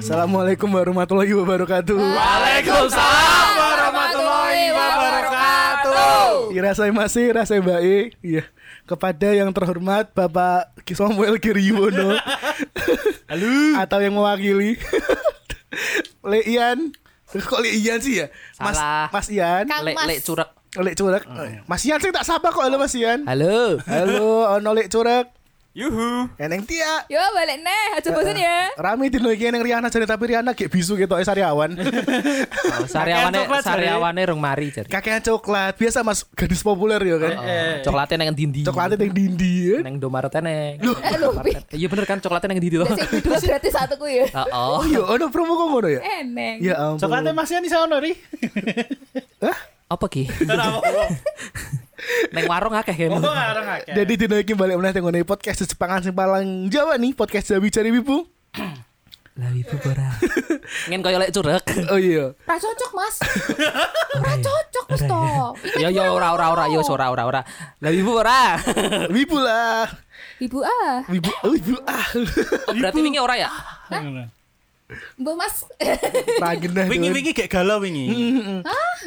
Assalamualaikum warahmatullahi wabarakatuh. Waalaikumsalam warahmatullahi wabarakatuh. Ira saya masih, Ira saya baik. Iya. Kepada yang terhormat Bapak Ki Samuel Giriwono Halo. atau yang mewakili Le Ian. Kok Le Ian sih ya? Mas Salah. Mas Ian. Kang Lek Mas. lek curek. Lek curek. Mas Ian sih tak sapa kok halo Mas Ian. Halo. Halo, ono Lek curek. Yuhu. Eneng Tia. Yo balik neh, aja bosan ya. Rame dino iki neng Riana jane tapi Riana gek bisu ketok e sariawan. Oh, Sariawane coklat, Sari. sariawane rung mari Oh, jar. Kakean coklat. Biasa Mas gadis populer ya kan. Eh. Coklatnya nang dindi. Coklatnya yang dindi ya. nang Indomaret neng. Eh lu pi. Iya bener kan coklatnya nang dindi toh. Sing dua gratis satu ku ya. Oh Oh, iya, ono promo kok ngono ya? Eneng. Ya ampun. Coklatnya masih di sana ri. Hah? apa ki? Neng warung akeh ya. Oh, ngarang akeh. Jadi dino iki balik meneh tengok nih podcast Jepangan sing paling Jawa nih, podcast Jawi Cari Wibu. Lah ibu ora. Ngen koyo lek curek. Oh iya. Ra cocok, Mas. Ra cocok, Mas toh. Yo yo ya. Iya, ora ora ora yo ora ora ora. Lah ibu ora. Wibu lah. Ibu ah. Wibu, oh, wibu ah. Oh, Berarti wingi ora ya? Mbah Mas. Ragenah. Dun. Wingi-wingi gak galau wingi.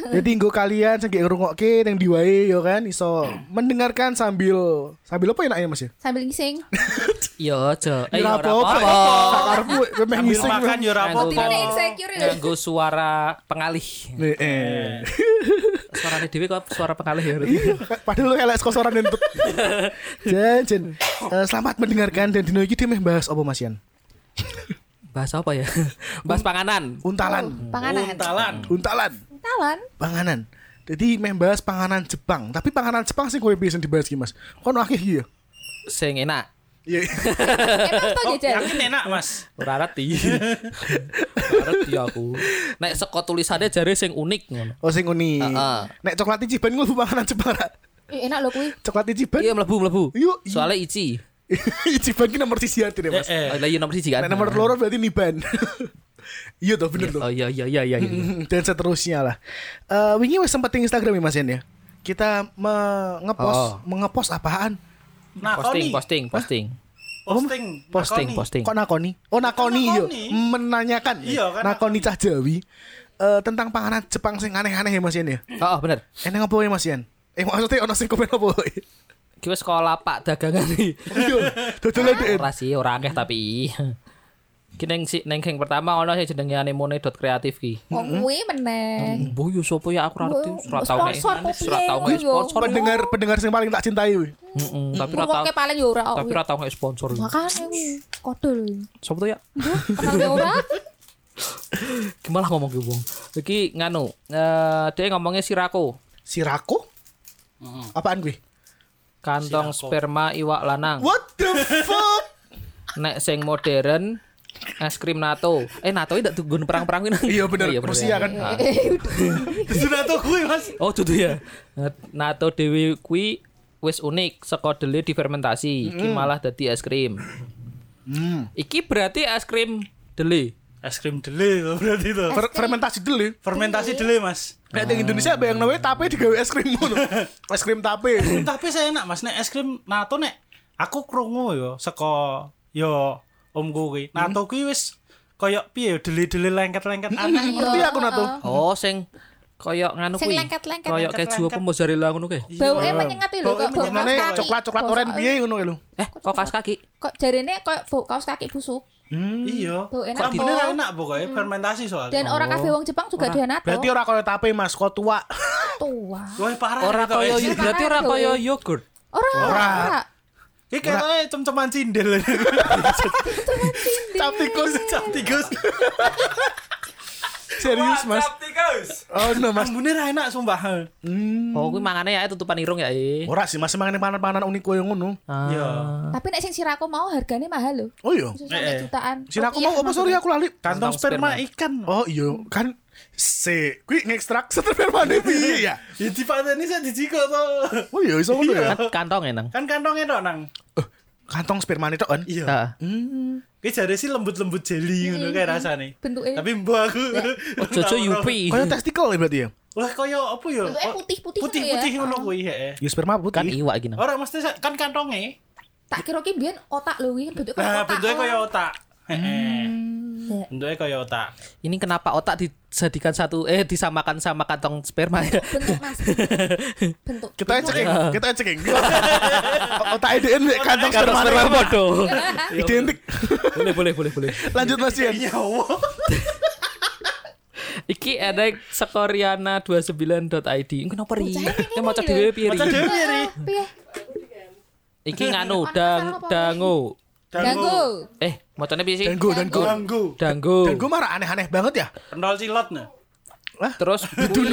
Jadi nggo kalian sing gek ngrungokke ning diwae ya kan iso mendengarkan sambil sambil apa enaknya Mas ya? Sambil ngising. Yo aja. Eh Ya, ora apa-apa. Sak karepmu kowe meh Ambil ngising. makan yo ora Nganggo- apa-apa. Tidak ada insecure ya. Nganggo suara pengalih. Nih, eh. Suarane dhewe kok suara pengalih ya. berarti. Iya. Padahal lu elek skosoran entut. Jen, jen. Eh, selamat mendengarkan dan dino iki dia meh bahas apa Mas Yan? Bahas apa ya? Bahas panganan. Oh, Untalan. Panganan. Untalan. Untalan. Talan. panganan. Jadi meh bahas panganan Jepang, tapi panganan Jepang sih kowe pisan dibahas ki Mas. Kono akeh iki ya. Sing enak. Iya. Emang toh Oh, ya, Jal? yakin enak, Mas. Ora reti. Ora reti aku. Nek saka tulisannya jare sing unik ngono. Oh sing unik. Heeh. Nek coklat Ichiban ku panganan Jepang. Ra. Ih, Eh, Enak lho kuwi. Coklat Ichiban. Iya mlebu mlebu. Yuk. Soalnya ici. Ichiban ki nomor sisi hati deh Mas. Eh, Oh, Lah iya nomor 1 kan. Nek nomor loro berarti Niban. Iya toh bener toh. Oh iya iya iya iya. iya. Mm, Dan seterusnya lah. Eh wingi wis sempet ing Instagram ya Mas Yan ya. Kita me- Oh. ngepost, mengepost apaan? nakoni. Posting posting posting. Posting. Posting nakoni. posting. Kok nakoni? Oh nakoni Kan yo. nakoni. Menanyakan. Iya, kan nakoni cah Jawi. Eh, tentang panganan Jepang sing aneh-aneh ya Mas Yan ya. Oh, oh bener. Enak apa ya Mas Yan? Eh maksudnya ono sing komen apa? ya? Ki wis sekolah Pak dagangan iki. Yo, dodol dhek. Ora sih ora akeh tapi. Ki neng si neng yang pertama ono sing jenenge anemone.kreatif ki. Wong Oh, kuwi meneh. Mbo yo sapa ya aku ora ngerti ora tau nek. Sponsor apa Ora piye tau nek ngono yo. sponsor. Pendengar pendengar sing paling tak cintai weh. Heeh, tapi ora tau. Ngoke paling yo ora. Tapi ora tau nek sponsor. Makane kuwi kodol. Sopo to ya? Kenal yo ora? Gimana ngomong ki wong? Iki nganu, eh dia ngomongnya sirako. Sirako? Apaan gue? Kantong sperma iwak lanang. What the fuck? Nek sing modern es krim NATO. Eh NATO ini ndak gun perang-perang ini. Iya, bener. Rusia kan. Ah. Sudah tuh kuwi, Mas. Oh dudu ya. NATO dewi kui wis unik saka dele difermentasi, iki Hmm. malah dadi es krim. Iki berarti es krim dele. Es krim dele loh, berarti itu. Fer- fermentasi dulu. ya. Fermentasi dele, Mas. Nek teng Indonesia bayang nawe tape digawe es krim ngono. Es krim tape. Tapi saya enak, Mas. Nek es krim nato nek aku krungu yo saka yo omku kuwi. Nato kuwi wis koyok piye yo dele-dele lengket-lengket aneh. Ngerti aku nato. Oh sing koyok nganu Sing kui. lengket-lengket. Koyok keju apa mozzarella ngono kuwi. Bauke menyengat lho Bauke kok. bau kaos Mane kaki. coklat coklat Bau oren kaos- piye ngono kae lho. Eh kok kaos kaki? Kok jarene koyo bau kaos kaki busuk. Iya. Tuh, enak, Kok Bu. bener enak pokoknya fermentasi soalnya. Dan orang kafe wong Jepang juga dia nato. Berarti Oh. ora koyo tape Mas, kok tua. tua. Wah, parah. Ah, Ora kok koyo es. berarti ora koyo eh. yogurt. Ora. Ora. ora. Iki kayaknya cem-ceman cindel. Cap tikus. Cap tikus. Serius Mas. tikus. Oh no Mas. Ambune ra enak sumpah. Oh kui mangane ya tutupan irung ya. eh. Ora sih Mas mangane panganan-panganan unik koyo ngono. Ah. Iya. Tapi nek sing sirako mau hargane mahal lho. Oh iya. Bisa sampai Eh, eh. jutaan. Siraku Rupiah mau apa sorry Iya, maksudnya. aku lali. Kantong sperma ikan. Oh iya kan se kuwi ngekstrak sperma ne piye ya? Ya dipateni saya dijikok to. Oh iya iso ngono ya. Kan kantong enang. Kan kantongnya tok nang. Eh, Kantong sperma ne tok kan? Iya. Heeh. Ki jare sih lembut-lembut jelly ngono kayak rasane. iya, Bentuke. Tapi mbok aku. Oh, Jojo Yupi. Iya. Kayak testikel ya berarti ya? Lah koyo apa ya? Bentuknya putih-putih gitu ya? Putih-putih ngono kuwi, heeh. Ya sperma kan putih. iwak gini Ora mesti sa- kan kantonge. Tak kira ki biyen otak lho iki bentuke Nah, koyo otak. bentuknya koyo otak. Heeh. Ya. Bentuknya koyo otak. ini kenapa otak dijadikan satu eh disamakan sama kantong sperma ya Bentuk Mas. Bentuk. Kita ceking, kita ceking. Otak IDN mek kantong kantong sperma sperma bodoh identik. boleh boleh boleh boleh Lanjut Mas Ian. Ya Allah. iki ada sekoriana29.id Ini kenapa ri Bocah ini ya maca nih. dhewe piye ri Maca dhewe. Piye? Ah, Piye? iki nganu Ono dang masalah apa? dango Ganggu. eh macane piye sih Danggu, danggu. Ganggu. dango Dan gue marah aneh-aneh banget ya. Pentol cilot nah. terus Dudu, kui-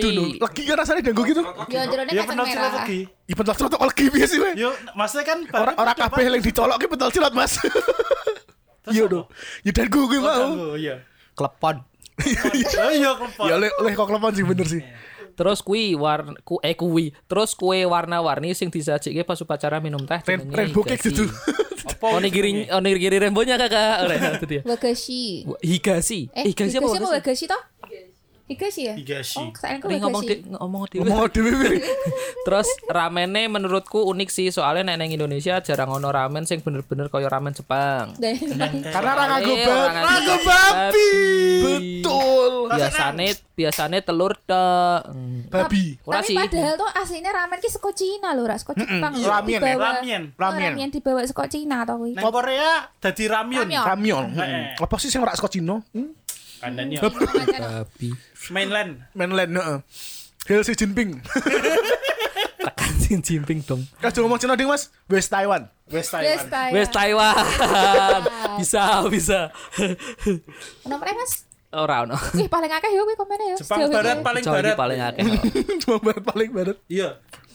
dudu, dudu. Lagi kan rasanya danggu gitu. Yo jerone Ya kacang pentol cilot merah. lagi. Ipen waktu itu lagi biasa sih. weh. Yo maksudnya kan Orang orang kabeh yang dicolok ki pental silat, Mas. Iya dong. Ya dan gue gue mau. Ganggu, iya. klepon Oh iya Ya klepon. oleh oleh kok lemon sih bener sih. terus kui war ku eh kui terus kue warna-warni sing disajike pas upacara minum teh Rain- jenenge Rainbow cake higasi. gitu. Apa? onigiri onigiri rembonya kakak oleh itu dia Wagashi. higasi Eh, higasi apa apa Wagashi? Wagashi toh? Higashi ya? Higashi. Oh, kesayangan Ini ngomong Wagashi. di, ngomong di Ngomong dhewe weh. terus ramene menurutku unik sih soalnya neneng Indonesia jarang ono ramen sing bener-bener kaya ramen Jepang Dan Karena Iya, orang aku Eh, bab- orang aku aku babi. babi. Betul. biasane biasane telur tok Babi. Ora Tapi sih. padahal tuh aslinya ramen ki seko Cina lho, ra seko Jepang. iya. Ramyeon ya, Dibawa- ramyeon, Oh, ramyeon. Ramyeon dibawa seko Cina toh kuwi. Neng Korea dadi ramyun. Ramyun. Ramyeon. Heeh. Hmm. Apa sih sing ora saka Cina? Hmm? Kandani. babi Mainland. Mainland, heeh. Hail Xi Jinping. tekan sing jimping dong Kasih ngomong Cina ding, Mas. West Taiwan. West Yes, Taiwan. Taiwan. wes Taiwan bisa bisa Nomor e, Mas? ora ono Wih, paling akeh yo kuwi komennya yo. Jepang Sejauh ini. Barat paling Jawa ini barat. paling akeh Cuma barat paling barat. Iya.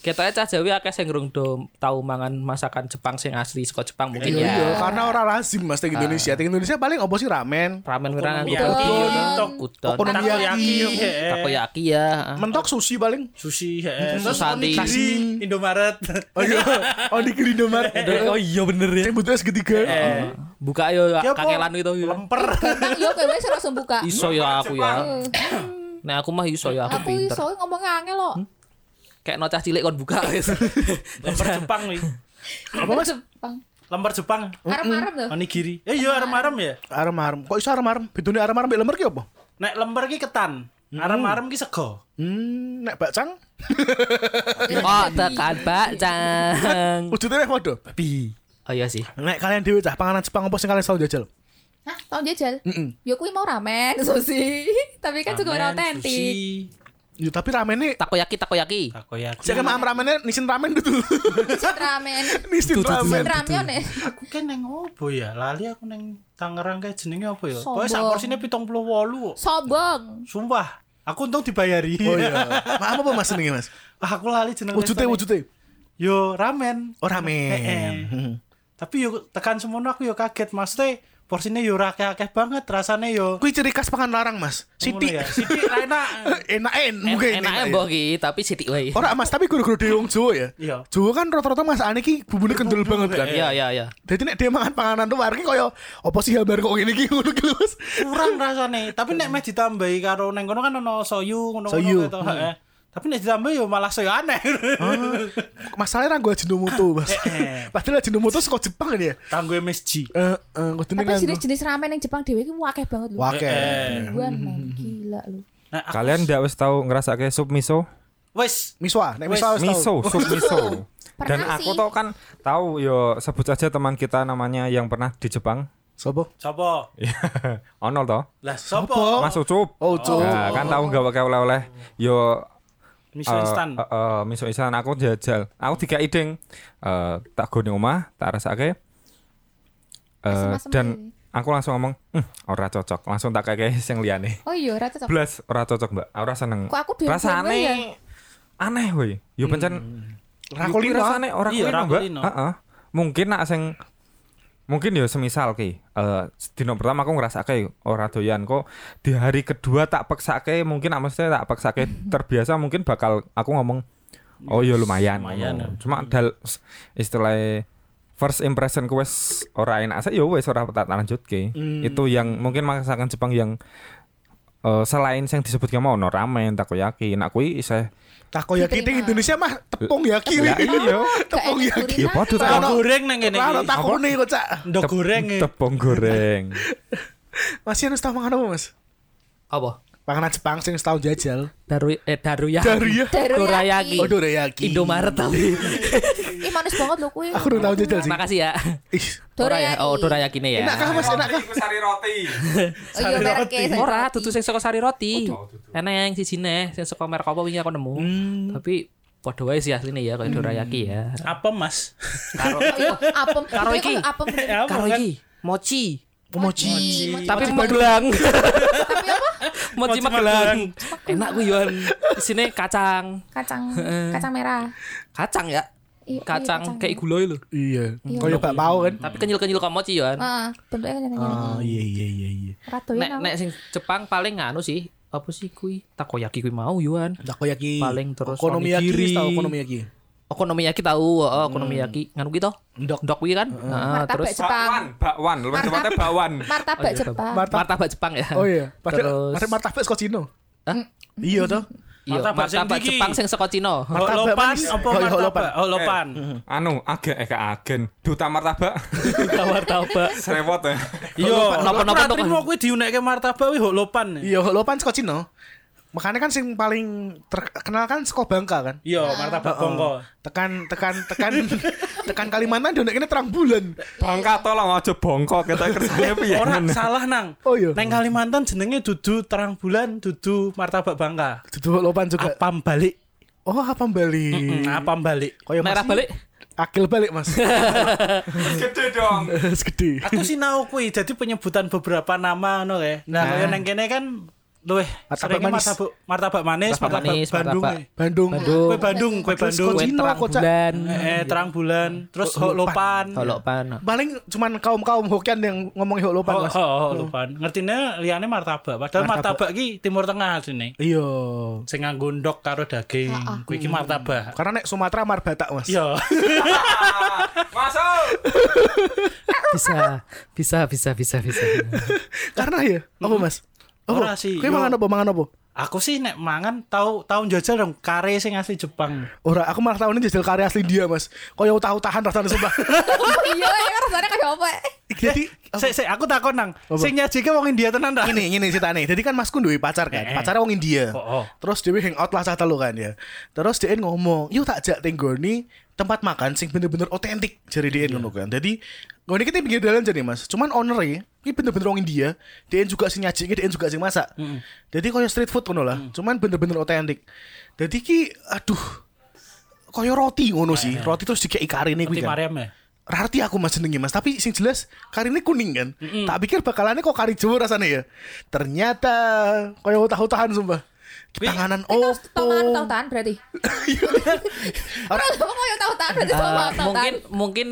Ketoknya cah Jawi akeh sing ngrung do tau mangan masakan Jepang sing asli saka Jepang mungkin Iya, Ah. iya, ya. karena orang lazim Mas di Indonesia. Di Indonesia paling apa sih ramen? Ramen wirang aku Iya. babi. Udon. Udon. Okonomiyaki. Takoyaki, heeh. Takoyaki ya. Mentok sushi paling. Sushi, heeh. Terus Susanti. onigiri, Indomaret. Oh iya, oh di Indomaret. Oh iya bener ya. Yang butuhnya segitiga. Buka yo Ya, apa? kangelan gitu yo. Lemper. Gampang yo kowe wis langsung buka. Iso ya aku ya. Nek aku mah iso ya aku Aku pinter. iso ngomong angel lo. Kayak no cah cilik kon buka wis. Lemper Jepang nih. Apa Mas? Jepang. Lemper Jepang. Arem-arem lho. Onigiri. Eh iya arem-arem ya. Arem-arem. Kok iso arem-arem? Bedone arem-arem mbek lemper ki apa? Nek lemper ki ketan. Arem-arem ki sego. Hmm, nek bakcang Kok tekan bacang. wujudnya nek padha. Babi. Oh iya sih. Hmm. Nek kalian dhewe cah panganan Jepang apa sing kalian selalu jajal? Hah, tau jajal? Mm-mm. Yo kuwi mau ramen, sushi. Tapi kan juga ora otentik. Ya tapi ramennya Takoyaki takoyaki. Takoyaki. Saya kan ramennya nisin ramen dulu. Cit ramen. nisin Cit ramen. ramen ya. Aku kan neng opo ya? Lali aku neng Tangerang kayak jenenge apa ya? Sombong. Pokoknya sak porsine 78. kok. Sobong. Sumpah. Aku untung dibayari. Oh iya. Maaf apa Mas senengnya Mas? aku lali jeneng. Wujudnya restorannya. wujudnya. Yo ramen. Oh ramen. Heeh. Tapi yo tekan semono aku yo kaget maksudnya porsinya yo akeh-akeh banget rasanya yo. Kuwi ciri khas pangan larang Mas. Siti. Ngono ya. Siti enak. Enak-en mungkin. iya. Enaknya enak-en. ya, mbok ki, tapi sithik wae. Iya. Ora Mas, tapi guru-guru dhewe wong Jawa ya. Iya. Jawa kan rata-rata masakane ki bubune kendel banget kan. Iya iya iya. Jadi nek dia makan panganan tuh wargi koyo apa sih gambar kok ini ki ngono ki Mas. kurang rasane. Tapi nek meh ditambahi karo neng kono kan ono soyu ngono Soyu. gitu. heeh. Tapi nek ditambahi yo malah soyu aneh. Masalahnya ranggo ajinomoto, Mas. Ah. Eh, eh. Padahal ajinomoto saka Jepang kan ya. Tanggo Eh, MSG. eh, kudune Tapi kan. jenis-jenis ramen yang Jepang dhewe iki akeh banget lho. Wake. Eh, Buan, man. gila lu. Nah, aku- Kalian ndak wis tahu ngrasake sup miso? wis Miswa, ah, nek Wes, miswa wis tau. Miso, sup miso. Pernah Dan aku sih. tau kan tahu yo sebut aja teman kita namanya yang pernah di Jepang. Sopo? sapa? Ono to? Lah sapa? Mas Ucup. Oh, Cuk. Nah, kan tahu gak pakai oleh-oleh yo Miso instan. Eh, eh, eh, miso instan aku jajal. Aku tiga ideng. Eh, tak gone omah, tak rasake. Eh, Asem-asem aja. dan aku langsung ngomong, "Hmm, ora cocok." Langsung tak kayak yang liyane. Oh iya, ora cocok. Blas, ora cocok, Mbak. Ora seneng. Kok aku dhewe Rasane ya? aneh woi. Hmm. Yo pancen Rakolino. Iku rasane ora Iya, kulino, Mbak. rakolino. Heeh. Mungkin nak sing mungkin ya semisal ki eh dino pertama aku ngrasake ora doyan kok di hari kedua tak peksake mungkin nak mesti tak peksake terbiasa mungkin bakal aku ngomong oh ya lumayan, Lumayan, ya. cuma dal istilah first impression ku wis Hmm. ora enak saya ya wis ora tak lanjutke itu yang mungkin masakan Jepang yang eh, selain yang disebutkan mau no ramen takoyaki nah kuwi isih Takoyaki Diterima. ning Indonesia mah tepung yaki. Ya iya. Tepung ya? Kayak yaki. Ya padha ta. Nah, Ono goreng nang ngene Lah iki. takone kok cak. Ndok Tep- goreng. eh. Tepung goreng. Masih harus tahu makan apa, Mas? Apa? Makanan Jepang sing setahun jajal. Daru eh Daruyaki. Daruya. Daruyaki. Dorayaki. Oh, dorayaki. Indomaret tapi. Ih manis banget loh kue. Aku udah tahu jajal sih. Makasih ya. Ih, Dorayaki. Dorayaki. Oh, Dorayaki nih ya. enak kah Mas? Enak kan? kah? sari roti. Oh iya merek e, sari Ora, roti. tutu sing saka sari roti. Oh, Enak yang siji neh sing saka merek apa wingi aku nemu. Hmm. Tapi padha wae sih asline ya kayak dorayaki ya. Apa Mas? Oh Karo iya, apem. Karo Iya, iki. Eh, kok Apem. bener. Apa, karo kan? iki mochi. Pemoci. Mochi. Tapi Magelang. Tapi apa? Mochi Mochi Magelang. Enak kuwi yo. Isine kacang. Kacang kacang merah. Kacang ya. Iya, iya, Kacang kayak gulai lho. Iya. Kayak bakpao kan. Tapi kenyil-kenyil kok mochi yo. Heeh, bentuknya kan yang Oh, iya iya iya iya. Ratu Ah. Nek nek sing Jepang paling nganu sih. Apa sih kui? Takoyaki kui mau yuan. Takoyaki. Paling Nah, terus okonomiyaki onigiri. tahu okonomiyaki. Okonomiyaki tahu, heeh, okonomiyaki nganu ki toh. Ndok. Hmm. Ndok kuwi kan. Heeh, terus Martabak Bakwan, Jepang. bakwan, lebih tepatnya bakwan. Martabak iya, Oh, Jepang. Martabak. martabak Jepang ya. Oh iya, padahal Terus- padahal martabak saka Cina. Hah? Iya toh. Iya, Martabak sing martabak tinggi. Jepang sing saka Cina. Martabak Holopan manis. apa Oh, iya, martabak? holopan. Holopan. Anu, agen eh ke agen. Duta martabak. martabak. Serewot ya. Yo, Napa-napa napa-napa tuh, to. Trimo kuwi diunekke martabak kuwi holopan. ya. Iya, lopan saka Cina. Makanya kan sing paling terkenal kan saka Bangka kan. Oh. Iya, martabak bongko. Tekan tekan tekan tekan Kalimantan dan kene terang bulan. Bangka tolong aja bongkok kita kersane piye. Ora salah nang. Oh iya. Neng Kalimantan jenenge dudu terang bulan, dudu martabak bangka. Duduk lopan Ah. juga. Apam balik. Oh, Hmm, apa Bali? Apam balik. Koyo Nek ra Mas, balik Akil balik, Mas. Gede dong. Segede. Aku sih nau kuwi jadi penyebutan beberapa nama ngono ya. Nah, kaya neng kene kan luweh Martabak seringnya manis. martabak martabak manis, Martabak martabak manis, Bandung. martabak. ya. Bandung. Bandung. Kue Bandung, kue Terus Bandung. Cina, terang kocak. bulan. Eh, terang bulan, terus Holopan. holopan. Holopan. Paling cuman kaum-kaum Hokian yang ngomong Ho- Oh, Holopan, Mas. ho- holopan. Ngertine liyane martabak, padahal martabak ki Timur Tengah sini. Iya. Sing nganggo ndok karo daging. Kuwi ki martabak. Karena nek Sumatera marbatak, Mas. Iya. Masuk. Bisa, bisa, bisa, bisa, bisa. Karena ya, apa Mas? Apa? Ora sih, iya. Kowe yo. mangan apa? Mangan apa? Aku sih nek mangan tau tau jajal dong kare sing asli Jepang. Ora, aku malah tahun ini jajal karya asli dia, Mas. Koyo tahu-tahan rasane sumpah. Oh iya, ya rasanya kayak apa? eh? Jadi Sik sik aku takon nang. Sing nyajike wong India tenan ta? ini ini ceritane. Jadi kan Masku duwe pacar kan. Pacarnya wong India. Oh, oh. Terus dhewe hangout lah cah telu kan ya. Terus dia ngomong, "Yuk tak jak tenggoni tempat makan sing bener-bener otentik." Jare dia Iya. ngono kan. Jadi ngene kita pinggir dalan jane Mas. Cuman owner e, ini bener-bener wong India. Dia juga sing nyajike, dia juga sing masak. Jadi koyo street food ngono Mm. lah. Cuman bener-bener otentik. Jadi ki aduh koyo roti ngono sih. Roti terus dikei karine kuwi Di kan. Mariam ya. Rarti aku mas jenenge mas Tapi sing jelas Kari ini kuning kan Tak pikir bakalannya kok kari Jawa rasanya ya Ternyata Kayak utah-utahan sumpah Tanganan Oh, Terus tahu opo tahu tahan berarti. Terus kamu kayak tahu tahan berarti sama Eh, tahu tahan. mungkin mungkin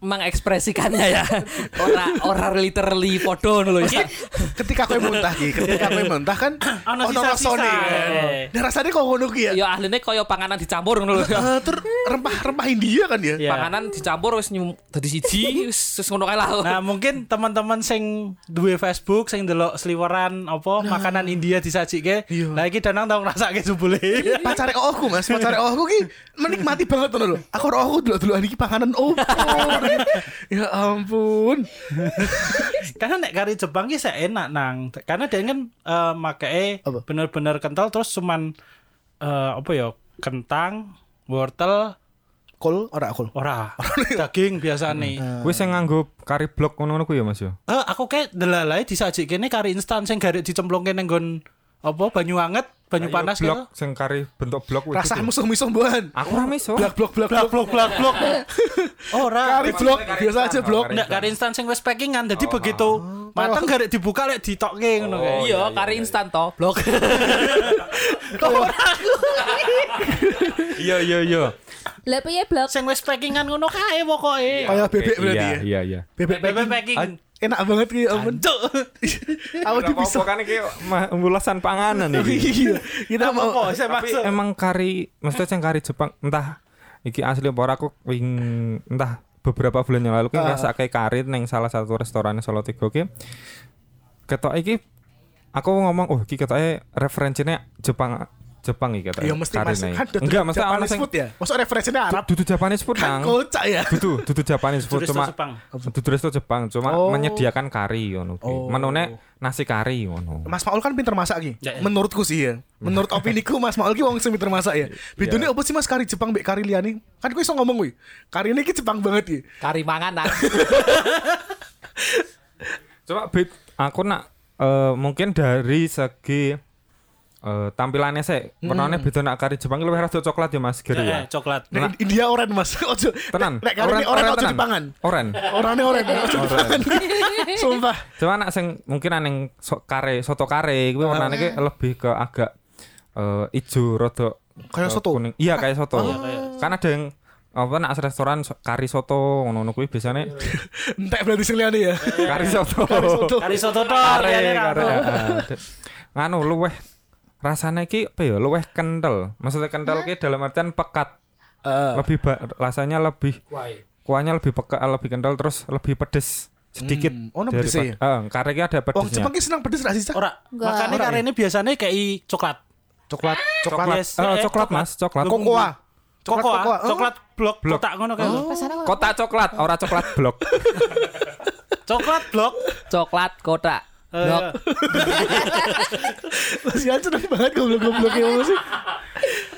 mengekspresikannya ya. Ora ora literally podo ngono lho ya. Ketika kue muntah Ki Ketika kue muntah kan Ana sisa-sisa. Iya. rasane kan Eh. Dan rasanya kok ngono Ki ya Ya ahline koyo panganan dicampur ngono lho. Eh, Ter rempah-rempah India kan ya Iya. Panganan dicampur wis nyum dadi siji wis wis ngono kae lah. Oh. Nah, mungkin teman-teman sing duwe Facebook sing delok sliweran apa makanan India disajike. Nah. Iya. Lah iki danang tau ngrasake jebule. Pacare aku mas Pacare aku Ki Menikmati banget tuh loh Aku roh aku dulu-dulu Ini panganan opo Ya ampun karena nek kari Jepang ki saya enak nang. Karena dia kan eh makake Apa? bener-bener kental terus cuman eh apa ya? Kentang, wortel, Kol Ora Nah. kol ora daging biasa nih. Wis sing nganggo kari blok ngono-ngono ku ya Mas ya. Eh, aku kayak delalai disajikin kari instan sing garek dicemplungke neng nggon apa banyu anget, banyu panas gitu. blok sing kari bentuk blok wujud Rasah ya. musuh-musuh buan Aku ora miso. Blak Ah. blok blak blok blok blak blok. Ora. Kari blok biasa aja blok. Ndak kari instan sing wis packingan jadi Oh, begitu mateng garek dibuka lek ditokke ngono kae. Iya, kari instan to, blok. Iya iya iya. Lah piye blok? Sing wis packingan ngono kae pokoke. Kayak bebek Oke, berarti Oh. iya, ya. Iya iya. Bebek Bebek packing. packing. Enak banget ki ampun. Cuk. Aku Ora dipisah. apa-apa kan iki ma- ulasan panganan iki. Iya. Kita Apa mau saya masuk? emang kari maksudnya yang kari Jepang entah iki asli apa ora, aku wing entah beberapa bulan yang lalu Ah. kan ngerasa kayak kari neng salah satu restoran Solo Tigo ki ketok iki aku ngomong oh iki katanya referensinya Jepang Jepang iki katanya. Ya mesti mas Karine. kan dudu Enggak, mesti ana Japanese sing food ya. Masuk referensinya Arab. dudu Japanese food Kan nang. kocak ya. Dudu dudu Japanese food Turis cuma Jepang. dudu resto Jepang cuma Oh. menyediakan kari ngono kuwi. Oh. Menune nasi kari ngono. Mas Maul kan pinter masak ki. Ya, ya. Menurutku sih ya. Menurut opiniku Mas Maul ki wong sing pinter masak ya. Bedone opo sih Mas kari Jepang mbek kari liyane? Kan ku iso ngomong kuwi. Kari ini ki Jepang banget ya. Kari mangan nah. Coba bit aku nak eh, mungkin dari segi eh, tampilannya sih, Hmm. warnanya beda nak kari Jepang lebih rada coklat ya Mas Eh, Giri ya. coklat. Nek India oren Mas. Ojo. Tenan. Nek kari ini oren ojo tenan. dipangan. Oren. Orane oren ojo dipangan. Sumpah. Cuma nak sing mungkin aneng so, kare, soto kare kuwi warnane ki lebih ke agak eh, ijo rada Kayak eh, soto? Oh. Kuning. Iya, kayak soto. Kan ada yang apa nak restoran so- kari soto ngono-ngono kuwi biasanya Entek berarti sing liyane ya. Oh. kari soto. Kari soto. Kari soto tok. Kare, liyane ra kare. ono. Iya, Ah, Nganu luweh rasanya ki apa ya luweh kental. Maksudnya kental ki dalam artian pekat. Eh, Lebih ba- rasanya lebih kuahnya lebih pekat, lebih kental terus lebih pedes sedikit. Hmm, oh, no daripada- pedesnya ya? Eh, kare ki ada Wong pedesnya. Jepang ki senang pedes ra sih? Cak? Ora. Enggak. Makane Ora, kare ya? ini biasanya kayak coklat. Coklat, iya. coklat, coklat, Yes, eh, Eh, coklat, coklat. mas, coklat. Kok- kokoa. Coklat Koko, kokoa. ah. coklat blok, Blok. Oh. kotak ngono kae. lho. Pesanan kok- Kota coklat, ora coklat blok. Coklat blok. Coklat kotak. Blok. Eh, Mas Yan seneng banget goblok-goblok ya Mas.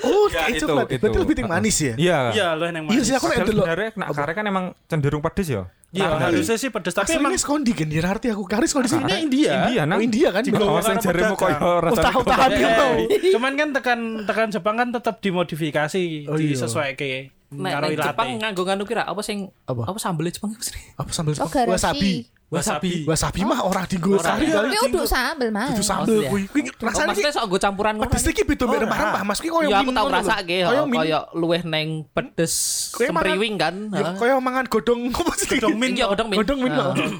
Oh, kayak coklat. Berarti lebih yang Heeh. manis ya. Iya. Ya, Iya, lho yang Iya manis. sih aku nek Padahal delok. sebenarnya nak kare kan emang cenderung pedes ya. Iya, harusnya sih pedes tapi Aslinya emang skondi kan ya arti aku karis skondi sini. India. India nang. Oh, India kan. Oh, Betul. sing jarimu pedagang. koyo rasane. Utah utah hati Eh, mau. Cuman kan tekan tekan Jepang kan tetap dimodifikasi, Oh, iya. disesuaikan Nek karo nek ilate. Jepang nganggo nganu kira apa sing Apa? apa, sambel Jepang iku sih? Apa sambel Oh, Jepang? garashi. wasabi? Wasabi. Wasabi mah orang digo kari kali. Tapi uduk sambel, Mas. Itu sambel iya. kuwi. Kuwi Oh, rasane ki maksudnya sok nggo campuran ngono. pedes iki beda mbek rempah-rempah. Mas kuwi koyo Ya aku min ngono tau lho. ngrasake Koyo ya min. koyo luweh neng pedes Koyo mangan- sempriwing kan. Ya Heeh. koyo mangan godong apa sih? Godong min. Iya, godong min. Godong min lho. Heeh.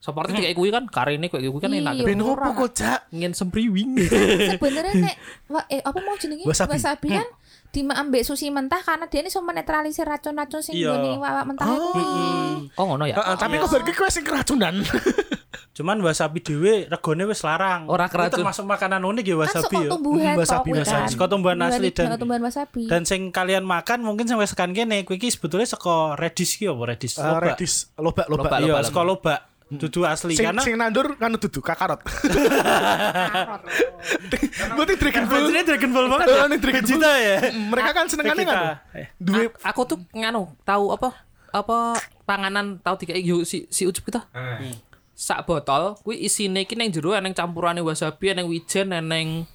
Soporte kayak kuwi kan karene kayak kuwi kan enak. Iya. gitu. Ben opo kok Cak? Ngin sempriwing. Sebenarnya nek wa- eh apa mau jenenge Wasabi. Hmm. wasabi kan dimaambek sushi mentah karena dia ini so menetralisir racun-racun sing Iya. nggone awak mentah Ah. iku. Oh ngono ya. Heeh, tapi kok berarti kowe sing keracunan. Eh, Cuman wasabi dhewe regane wis larang. Ora Itu keracun. termasuk makanan unik ya Kan wasabi suka ya. tumbuhan Hmm, wasabi, kok kuwi wasabi. kan. Suka tumbuhan asli dan- suka tumbuhan wasabi. Dan sing kalian makan mungkin sing wis kan kene kuwi iki sebetulnya saka redis ki apa redis. Eh, Redis lobak lobak. Lobak. Iya, Lobak-lobak. saka lobak. Dudu asli Sing, karena sing nandur kan dudu kakarot. Berarti Dragon Ball. Ini Dragon Ball banget. Eh, ini Dragon Ball. Vegeta ya. Mm, Mereka kan senengannya kan. Vegeta. Duwe A- aku tuh nganu tahu apa apa panganan tahu tiga yuk si si ucup kita Eh. sak botol kuwi isine iki ning jero eneng campurane wasabi eneng wijen eneng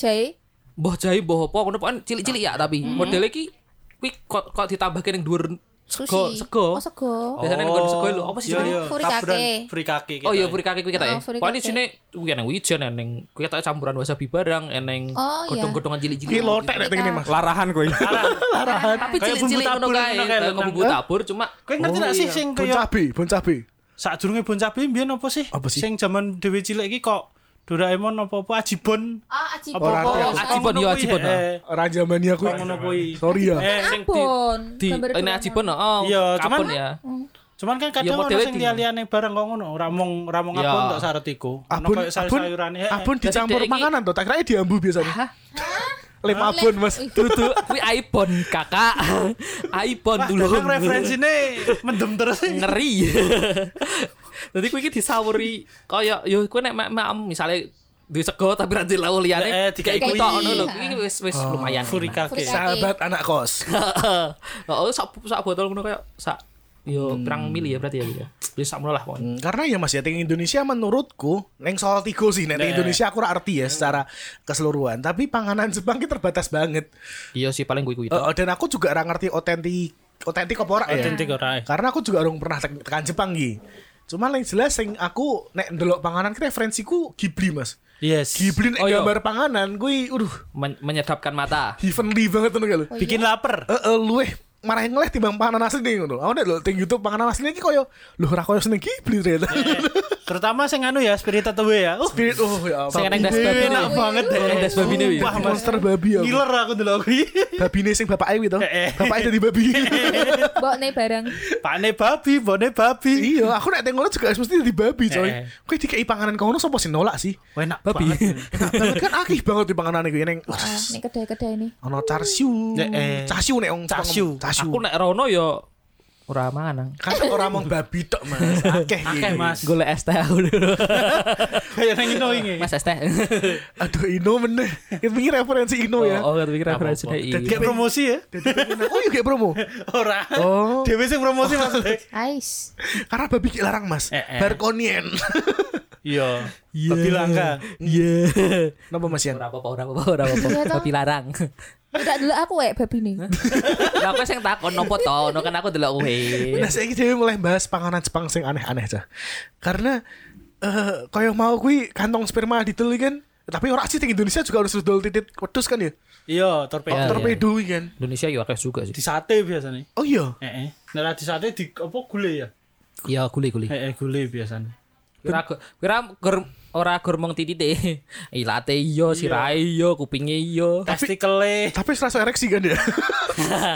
Jae. boh jahe boh apa ngono pokoke cilik-cilik ya tapi modelnya iki kuwi kok kok ditambahke ning dhuwur sego Sushi. Oh, sego sego. biasanya ning nggon sego lho apa Iya, sih jenenge? iya. Furikake. Taburan furikake oh iya kita. furikake kuwi Oh, ketoke furikake. pokoke isine kuwi eneng wijen eneng kuwi ketoke campuran wasabi barang eneng Oh, iya. godhong-godhongan ki cilik-cilik lotek nek ini Mas. Larahan kowe. tapi Kayak bumbu cilik-cilik ngono tabur, kae ngono kae, kayak lenang. bumbu Hah? tabur cuma Kowe ngerti Oh, gak sih iya. sing Bon kaya cabe, bon cabe. sadurunge Bon Cabe mbiyen apa sih? Apa sih? Sing jaman dhewe cilik iki kok Doraemon apa-apa Ajibon. Ah, aji Apa- bobo. apa- Ah, Ajibon, iya, Ajibon, ah. Eh, Ora zamane aku. kok ngono kuwi. Sorry ya. Eh, sing di Abon. di Gambar ini Doraemon. ajibon oh Iya, kapun cuman- ya Cuman kan kadang ono modelnya sing di- liyane bareng kok ngono, ora mung ora mung Iya. abon tok syarat iku. Ono Abun, koyo abun, sayur-sayurane. eh, eh. abun Jadi dicampur dia ini- makanan tuh. Tak kira diambu biasanya. Lem Lem- abun Mas. Ih, dulu kui aibon kakak aibon Wah, dulu kadang referensine mendem terus. ngeri jadi kui ini disawuri koyo yo kui ya, nek mak mak misalnya di sego tapi rajin lau Eh, liane dikai kayak ikut kui. tok ngono lho kui wis wis lumayan Furikake. Furikake. Sahabat anak kos. oh sak sak botol ngono koyo sak yo pirang mili ya berarti ya ya wis sak mula lah pokoknya. Hmm, Karena ya Mas ya ting Indonesia menurutku neng soal tigo sih neng Nek. Indonesia aku ora arti ya secara keseluruhan. Tapi panganan Jepang ki terbatas banget. iya sih paling kui kui Eh, dan aku juga ora ngerti otentik otentik apa ora ya. Otentik ora. eh. Karena aku juga orang pernah tek- tekan Jepang Gi. Cuma yang jelas sing aku nek ndelok panganan ki referensiku Ghibli Mas. Yes. Ghibli nek Oh, iya. gambar panganan kuwi aduh Men- menyedapkan mata Oh, heavenly banget ngono kae lho. Bikin lapar. Heeh Eh, luweh marahin ngeleh timbang panganan asli nih ngono. Aku nek lho ting YouTube panganan asli iki koyo lho ora koyo seneng iki beli Iya. ternyata. Terutama sing anu ya spirited away ya. Uh, Spirit oh ya. Sing ampun. enak das babi enak nih. banget deh. Enak das babi nih, wi. Sumpah, Mas. monster babi ya aku. Ngiler aku dulu aku. Babine sing bapake kuwi to. Eh, eh. Bapake dadi babi. Mbok nih barang. Pane babi, bone babi. Iya, aku nek teng ngono juga mesti dadi babi coy. Eh, eh. Kowe dikei panganan kono sapa sih nolak sih? Wah, enak Babi. banget. Enak banget kan akeh banget di panganan iku ning Ah, ini kedai-kedai ini. ono carsiu. Eh, eh. Carsiu nek wong Carsiu. Carsiu. Aku nek rono yo ora mangan. Kan ora mung babi tok, Mas. Akeh. iki. Akeh, Mas. Golek es teh aku dulu. Kayak nang ino ini. Mas es teh. Aduh Ino meneh. Ini referensi Ino ya. Oh, oh, pikir aku rasa Dan iki. kayak Kayak promosi ya? Jadi pengen- Oh iya kayak promo. Ora. Oh. Dewe sing promosi maksudnya. Ais. Karena babi kayak larang mas. Eh, eh. Barkonien. Iya. Babi langka. Iya. Napa mas Yan? Ora apa-apa, ora apa-apa, ora apa-apa. Iya, toh. Tapi larang. Tidak dulu aku wek babi nih. Lah aku sing takon nopo to, no kan aku delok kowe. Nah saya jadi mulai bahas panganan Jepang sing aneh-aneh aja. Karena eh kaya mau kui kantong sperma diteli kan. Tapi orang asli di Indonesia juga harus dodol titit wedus kan ya. Iya, torpedo. Iya, iya. Torpedo iya kan. Indonesia yo akeh juga Di sih. sate biasanya. Oh iya. Heeh. Nek ra di sate di apa gule ya? Eh, Iya, kuli-kuli. Heeh, gule biasanya. Kira kira gur ora gur mung titite. Ilate iya, sirahe iya, kupinge iya. Testikele. Tapi selasa ereksi kan ya.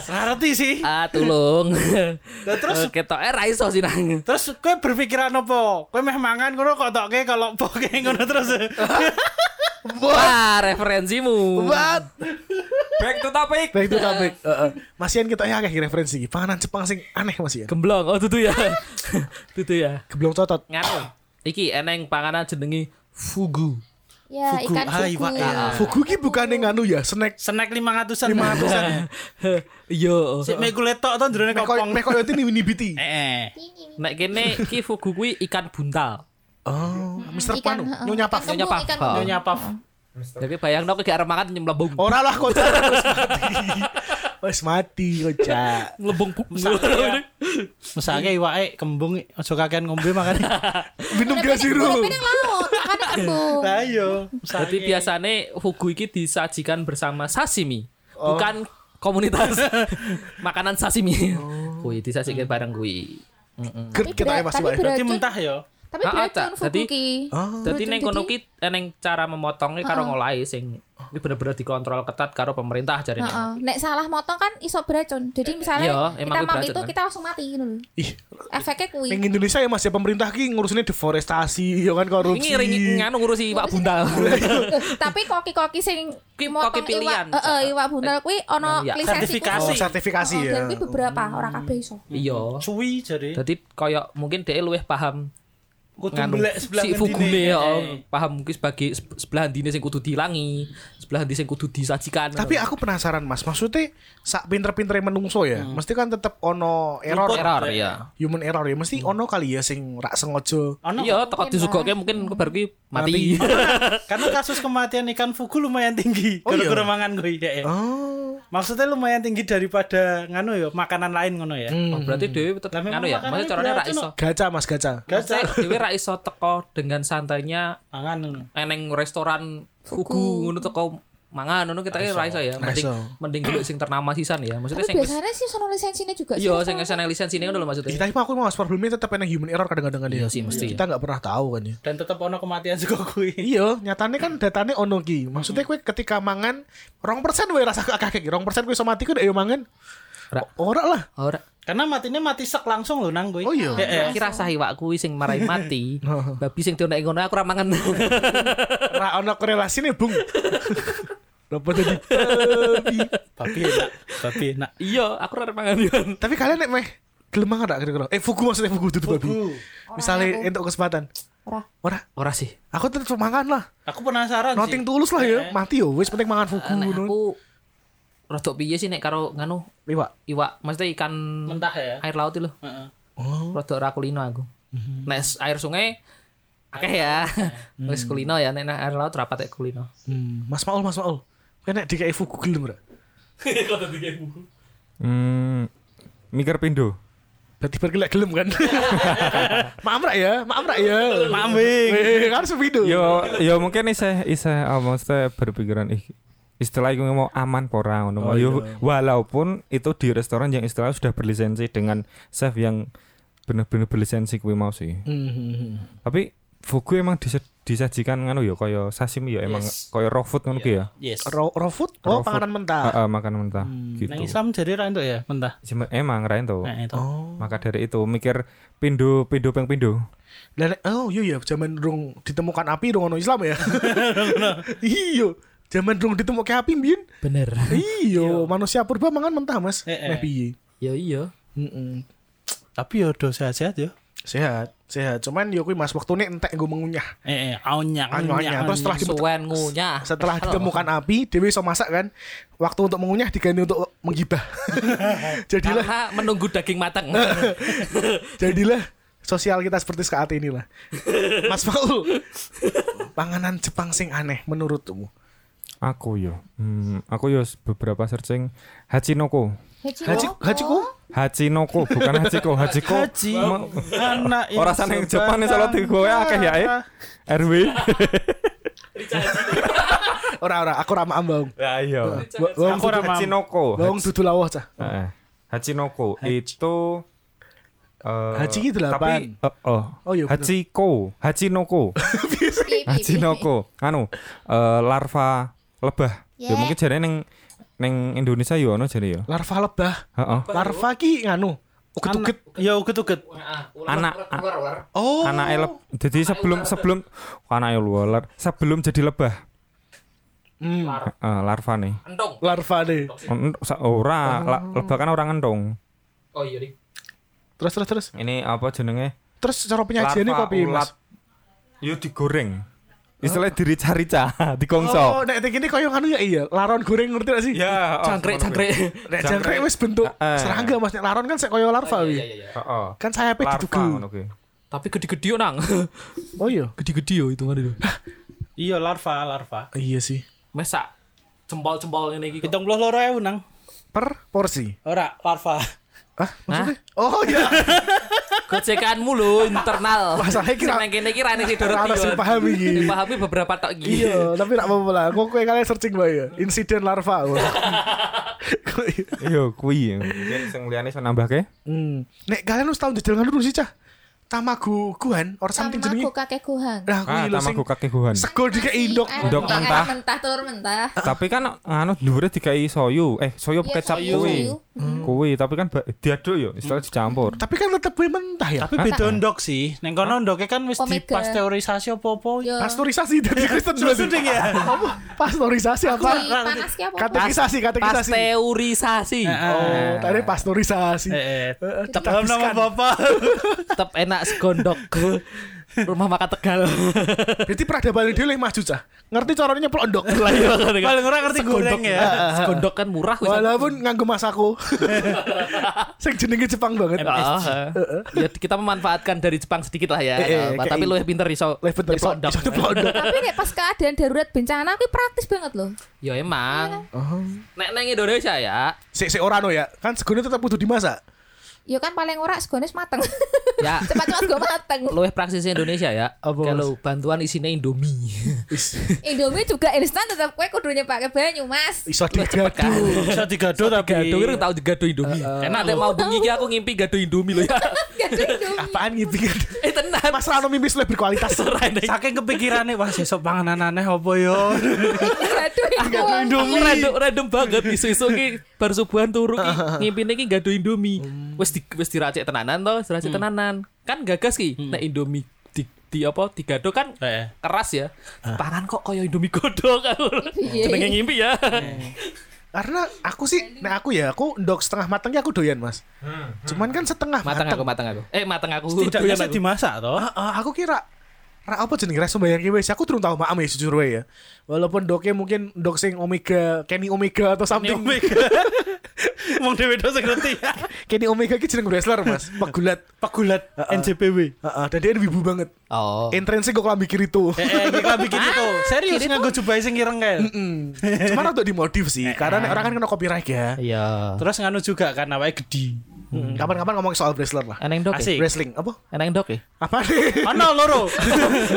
Ngerti sih. Ah, tulung. Lah, terus- Eh, ketoke ra iso sih nang. Terus kowe berpikiran apa? Kowe meh mangan ngono kok tokke kalau poke ngono terus. Wah, Ah, referensimu. What? Back to topic. Nah itu topik. Eh, eh. Mas Yan kita ya kayak referensi. iki. Panganan Jepang sing aneh mas Yan. Gemblong. Oh, tutu ya. tutu ya. Geblong cotot. Nganu. Iki eneng panganan jenenge fugu. Ya Fugu. ikan Ah, fugu. iwak ya. Fugu ki bukan yang anu ya. Snack. Snack 500-an. 500-an. Yo. Sik meh kulit tok to jroning kopong. Mekoyotin ini winibiti. Eh, Heeh. Nek kene iki fugu kuwi ikan buntal. Oh, Mr. Ikan, Panu, heeh. nyonya Pak. Ikan kembung, Nyonya Pak. ikan Ah. kembung. Nyonya Paf. Tapi bayangno kok gak makan nyemlebung. Ora lah kocak terus mati. Wes mati kocak. Lembung bu. Mesake iwake kembung aja kakean ngombe makan. Minum Tapi gak nek siru. uripnya ning laut, makane kembung. Lah iya. Jadi mesake. biasane fugu iki disajikan bersama sashimi. Bukan komunitas makanan sashimi. Kuwi disajikan bareng kuwi. Gerd kita ya berat- pasti tapi wae. berat. Berarti mentah ya. Tapi Ah, ah, beracun Cak. fugu Jadi- ki. Oh. Jadi Betul, neng kono jadi- ki neng cara memotongnya karo ngolahi sing ini bener-bener dikontrol ketat karo pemerintah jadi neng. Heeh. Nek salah motong kan iso beracun. Jadi misalnya Iya, emang kita kuwi mampu beracun, itu kan. kita langsung mati gitu loh. Ih, Efeknya kuwi. ning Indonesia ya Mas ya pemerintah ki ngurusinnya deforestasi, ya kan korupsi. Ini ringi nganu ngurusi Pak Buntal. Eh, tapi koki-koki sing Ki- motong koki pilihan. Eh, iwak, heeh, iwak buntal kuwi ana Iya. lisensi Sertifikasi. Oh, sertifikasi Heeh, ya. Hmm. Dan kuwi beberapa ora kabeh iso. Iya. Suwi jadi. Jadi koyok mungkin dia luwih paham Kudu nganu mbelek sebelah Eh. si fugune oh. ya, paham mungkin sebagai se- sebelah dine sing kudu dilangi, sebelah dine sing kudu disajikan. Tapi aku penasaran Mas, maksudnya sak pinter-pintere menungso ya, mesti kan tetap ono error, Luput. error ya. human error ya, mesti ono kali ya sing rak sengaja. Ono. Iya, teko disugoke mungkin baru ki mati. Karena kasus kematian ikan fugu lumayan tinggi Oh, kalau iya. keremangan gue ya. Oh, Maksudnya lumayan tinggi daripada nganu ya makanan lain ngono ya. Hmm. Oh, berarti dhewe tetep Lah, memang nganu ya. makanannya Maksudnya caranya ra beracun, iso. gacha Mas, gacha. Gaca Maksudnya dhewe ra iso teko dengan santainya mangan ngono. eneng restoran fugu ngono teko mangan ngono kita ra iso ya. Ra Mending iso. mending dulu sing ternama sisan ya. Maksudnya Tapi sing wis- biasanya sih sono lisensinya juga sih. iya sing wis ana lisensine ngono lho maksudnya. Kita Iya, aku mau problemnya tetap enak human error kadang-kadang kan ya. Iya sih, mesti. Kita nggak pernah tahu kan ya. Dan tetap ono kematian juga gue. Iya, nyatane kan datane ono ki. Maksudnya kowe ketika mangan rong persen wae rasa kakek ki. Rong persen kowe iso mati kowe ndak yo mangan. Ra. O- Ora lah. Ora. Karena matinya mati sek langsung loh nang gue. Oh iya. Ya, ya. Iki rasah iwak kuwi sing marai mati. Oh. Babi sing dionek ngono aku ra mangan. Ra ono korelasine, Bung. Lopo tadi? Babi. Babi enak. Babi enak. Iya, aku ra mangan yo. Tapi kalian nek meh gelem mangan gak kira-kira? Eh fugu maksudnya fugu dudu babi. Fugu. Misalnya aku. entuk kesempatan. Ora. Ora, Ora sih. aku tetep mangan lah. Aku penasaran Kan Nothing sih. Eh, tulus lah Iya. ya. Mati yo wis penting mangan fugu ngono. Nek Iya, aku rodok piye sih nek karo nganu Liwat. iwak, maksudnya ikan Mentah ya. air laut itu lho. Heeh. Oh. Rodok ra kulino aku. Nek s- air sungai akeh ya. Wis kulino ya nek nek air laut rapat ya kulino. Hmm. Mas Maul, Mas Maul. Kowe nek dikai fugu gelem ora? Hmm, mikir pindo. Berarti bergelak gelem kan? maaf rak ya, maaf rak ya. Mambing. Eh, harus video. Gitu. Yo, yo mungkin iseh iseh apa maksudnya ah, berpikiran ih istilah itu mau aman pora Oh, ngono. Yo, iya. walaupun itu di restoran yang istilah sudah berlisensi dengan chef yang bener-bener berlisensi kuwi mau sih. Mm-hmm. Tapi fugu emang dise- disajikan ngono ya kaya sashimi ya emang Yes. kaya raw food ngono Iya. ki ya. Yes. Raw, raw food? Oh, Raw food. panganan mentah. Heeh, makanan mentah Hmm. gitu. Nang Islam jadi ra entuk ya, mentah. Cuma- eh, Emang rain tuh. Nah, itu. Oh. Maka dari itu mikir pindo pindo peng pindo. Lah, nek- oh iya ya, zaman rung ditemukan api rung ono Islam ya. iya, zaman rung ditemukan api mbiyen. Bener. Iya, manusia purba mangan mentah, Mas. Eh, eh. Meh piye? Ya iya. Mm-mm. Tapi yo do sehat-sehat ya. yo. Sehat, sehat. Cuman yo kuwi Mas waktune entek nggo mengunyah. Eh, eh, aunyang, Anyang-anyang. Terus setelah di- Suwen ngunyah. setelah Halo. ditemukan api, Dewi iso masak kan. Waktu untuk mengunyah diganti untuk menggibah. jadilah Karena menunggu daging matang. jadilah sosial kita seperti saat inilah. Mas Paul, panganan Jepang sing aneh menurutmu? Aku yo. Hmm, aku yo beberapa searching Hachinoko. Haji, Hajiku? Hachinoko bukan Hachiko, Hachiko. Haji. Mau- Anak Ora sana yang Jepang nih salah tiga ya akeh ya. eh. RW. Ora ora, aku rama ambang. Ya iya. Wong Aku ora mam. Hachinoko. wong dudu lawuh cah. Heeh. Hachinoko eh. itu eh, Hachi ki Tapi, delapan. eh, oh, Oh, iya, bener. Hachiko, Hachinoko, Hachinoko, anu eh, larva lebah. Yeah. Ya mungkin jare neng neng Indonesia yo ono jare yo. Larva lebah. Heeh. Larva ki nganu. Uget-uget. Uget-uget. Ya uget-uget. Anak Oh. anak elep. Jadi sebelum sebelum anak ular sebelum jadi lebah. Hmm, Eh, larva nih. Entong. larva deh. Ent- sa- Ora, Oh. la- lebah kan orang entong. Oh iya. Ri. Terus terus terus. Ini apa jenenge? Terus cara penyajiannya Larva kopi mas. ulat. Yo digoreng. Istilahnya dirica-rica, digongso. Oh, nek nek ini koyo nganu ya iya, laron goreng ngerti gak sih? Ya, oh, Cangkrik ngono cangkrik. kuwi. Nek jangkrik wis bentuk Eh. serangga Mas, nek laron kan sek koyo larva wi. Heeh. Kan sayapnya Larva ditugu. ngono kuwi. Tapi gede-gede yo nang. Oh iya. Gede-gede yo itu kan itu. Iya, larva, larva. Iya sih. Mesa jempol-jempol ini iki. Hitung puluh loro ewu nang. Per porsi. Ora, larva. Hah? Maksudnya? Oh iya. Gocekanmu lho internal. Masalahnya kira- Sing nang kene iki ra ning sidoro Ra ana sing paham iki. Pahami beberapa tok iki. Iya, tapi gak apa-apa lah. Kok kowe kalian searching bae ya. Insiden larva. Iya, kuwi. Mungkin sing liyane iso nambahke. Hmm. Nek kalian harus tahu jajal nganu dulu sih cah. Tamago guhan or something jenenge. Tamago kakek gohan. Nah, Ah, kuwi lho sing tamago kaki Wuhan. sego dikek indok. Ayam Ndok ayam mentah. mentah, telur mentah. Tapi kan anu dhuwure dikai soyu. Eh, soyu Iya, kecap soyu. kuwi. Soyu. Kuwi, tapi kan ba- diaduk yo, istilah dicampur. Tapi kan tetep kuwi mentah ya. Tapi beda ndok sih. Neng kono ndoke kan wis Omega. dipasteurisasi opo-opo. Yo. Pasteurisasi dari Kristen Susu ding ya. Apa? Pasteurisasi apa? Di panas ki apa? Katekisasi, katekisasi. Pasteurisasi. Oh, tadi pasteurisasi. Eh, eh. Tetap Dalam nama Bapak. Tetep enak segondok. Rumah makan Tegal. Berarti peradaban dhewe leh maju cah. Ngerti caranya nyeplok ndok. Paling ora ngerti goreng ya. Segondok kan murah wis. Walaupun nganggo masako. Sing jenenge Jepang banget. Ah, Oh, ya kita memanfaatkan dari Jepang sedikit lah ya. Eh, eh, Apa, kayak tapi i- lu yang pinter iso Leh bentar iso plok- ndok. iso nyeplok ndok. Tapi nek pas keadaan darurat bencana kuwi praktis banget loh. Ya emang. Oh. Nek nang Indonesia ya, Sik sik ora no ya. Kan segone tetep kudu dimasak. Ya kan paling ora segones mateng. ya Cepat-cepat gue mateng. luwih praksis Indonesia ya. Apa, Mas? Kalau bantuan isinya Indomie. Is, Indomie juga instan tetap kue kudu pakai banyu, Mas. iso kan. digadu. Bisa digado tapi Gado kan tau gado Indomie. Enak nek mau bengi iki aku ngimpi gado Indomie lho ya. Gak ada Indomie. Apaan gitu kan? Eh tenan. Mas Rano mimpi lebih berkualitas. Rene. Saking kepikirane wah sesuk panganan aneh opo yo. Ah. Gado Indomie. Aku random, random banget isu-isu ki bar subuhan turu ki ngimpine ki gado Indomie. Hmm. Wis di, wis diracik tenanan to, diracik tenanan. Kan gagas ki Hmm. nek Indomie di, di apa digado kan Heeh. keras ya. Ah. Tangan kok kaya Indomie godhog. Iya. Jenenge ngimpi ya. Eh, Karena aku sih, nah aku ya, aku ndok setengah matangnya aku doyan mas. Cuman kan setengah Matang matang. aku, matang aku. Eh matang aku. Tidak Doyan bisa aku. dimasak toh. Heeh, ah, aku kira ra apa jenenge reso bayang ki wis aku durung tau maam ya jujur wae ya. Walaupun doke mungkin dok sing Omega, Kenny Omega atau something. Wong dhewe do sing ngerti. Kenny Omega ki jeneng wrestler, Mas. Pegulat. Pegulat NJPW. Heeh, dan dia wibu banget. Oh. Entrance kok lambi kiri tuh. Eh, eh, kita bikin itu serius nganggo jubahe sing ireng kae. Cuman untuk dimodif sih, karena nek orang kan kena copyright ya. Eh, Iya. Terus nganu juga kan awake gede. Hmm, Kapan-kapan ngomong soal wrestler lah. Eneng dok. e? Asik. Wrestling apa? Eneng dok ya. Apa nih? Ono loro.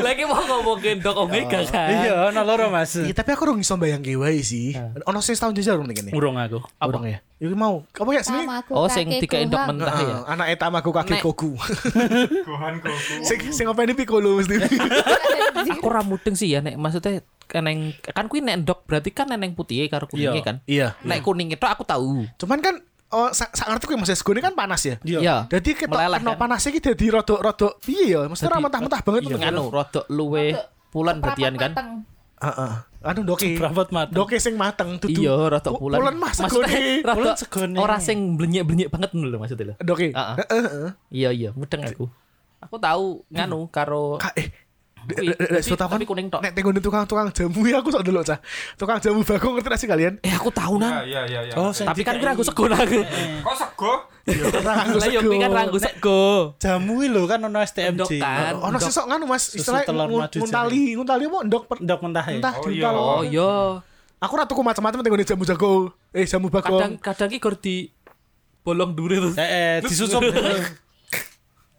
Lagi mau ngomongin dok Omega kan. Iya, ono loro Mas. Ya, tapi aku rung iso bayang wae sih. Eh. Ono sing setahun jajar rung ngene. Ngurung aku. Apa ya? Iku mau. Apa ya sini? Tamaku Oh, sing kakeku dikei dok hang. mentah ya. Heeh, Anak eta aku kakek Nek. koku. Sing sing ngopeni Piccolo mesti. Aku ra mudeng sih ya nek maksudnya eneng kan kuwi nek dok berarti kan eneng putih e karo kuningnya Iya. kan. Iya. Nek kuning itu aku tahu. Cuman kan oh sak sak ngerti kuwi Mas Esko ini kan panas ya. Iya. Jadi kita Meleleh, kena kan? panas iki dadi rodok-rodok piye ya? Mesti ora Jadi- mentah-mentah banget Iya. Nganu rodok luwe pulen bertian kan. Mateng. Heeh. Anu doke. Berambut mateng. Doke sing mateng dudu. Iya, rodok Pu- pulen. Pulen mas Maksudnya, segone. rodok Pulen segone. Ora sing blenyek-blenyek banget ngono lho maksudnya lho. Doke. Heeh. Heeh, heeh. Iya iya, mudeng aku. Aku tahu nganu karo Kak eh Kui, tapi- tapi kuning tok. Nek tengok tukang-tukang jamu ya aku sok delok cah. Tukang jamu bagong ngerti nasi kalian. Eh aku tahu nang. Iya iya iya. Oh, sing Tapi kan dikai- kira aku sekon aku. Kok sego? Orang aku Iya. Lah yo sego. kui kan ranggo sego. jamu iki lho kan ono Endok STMJ. kan. Ono sih Endok. sok nganu mas. Susu Istilah telur madu nguntali. Nguntali apa? Ndok per- Endok mentah ya. Entah Oh, diuntal. iya. Nah, Oh iya. Aku ratu ku macam-macam tengok jamu jago. Eh jamu Kadang bagong. kadang iki gor di bolong dure terus. Eh, eh disusup.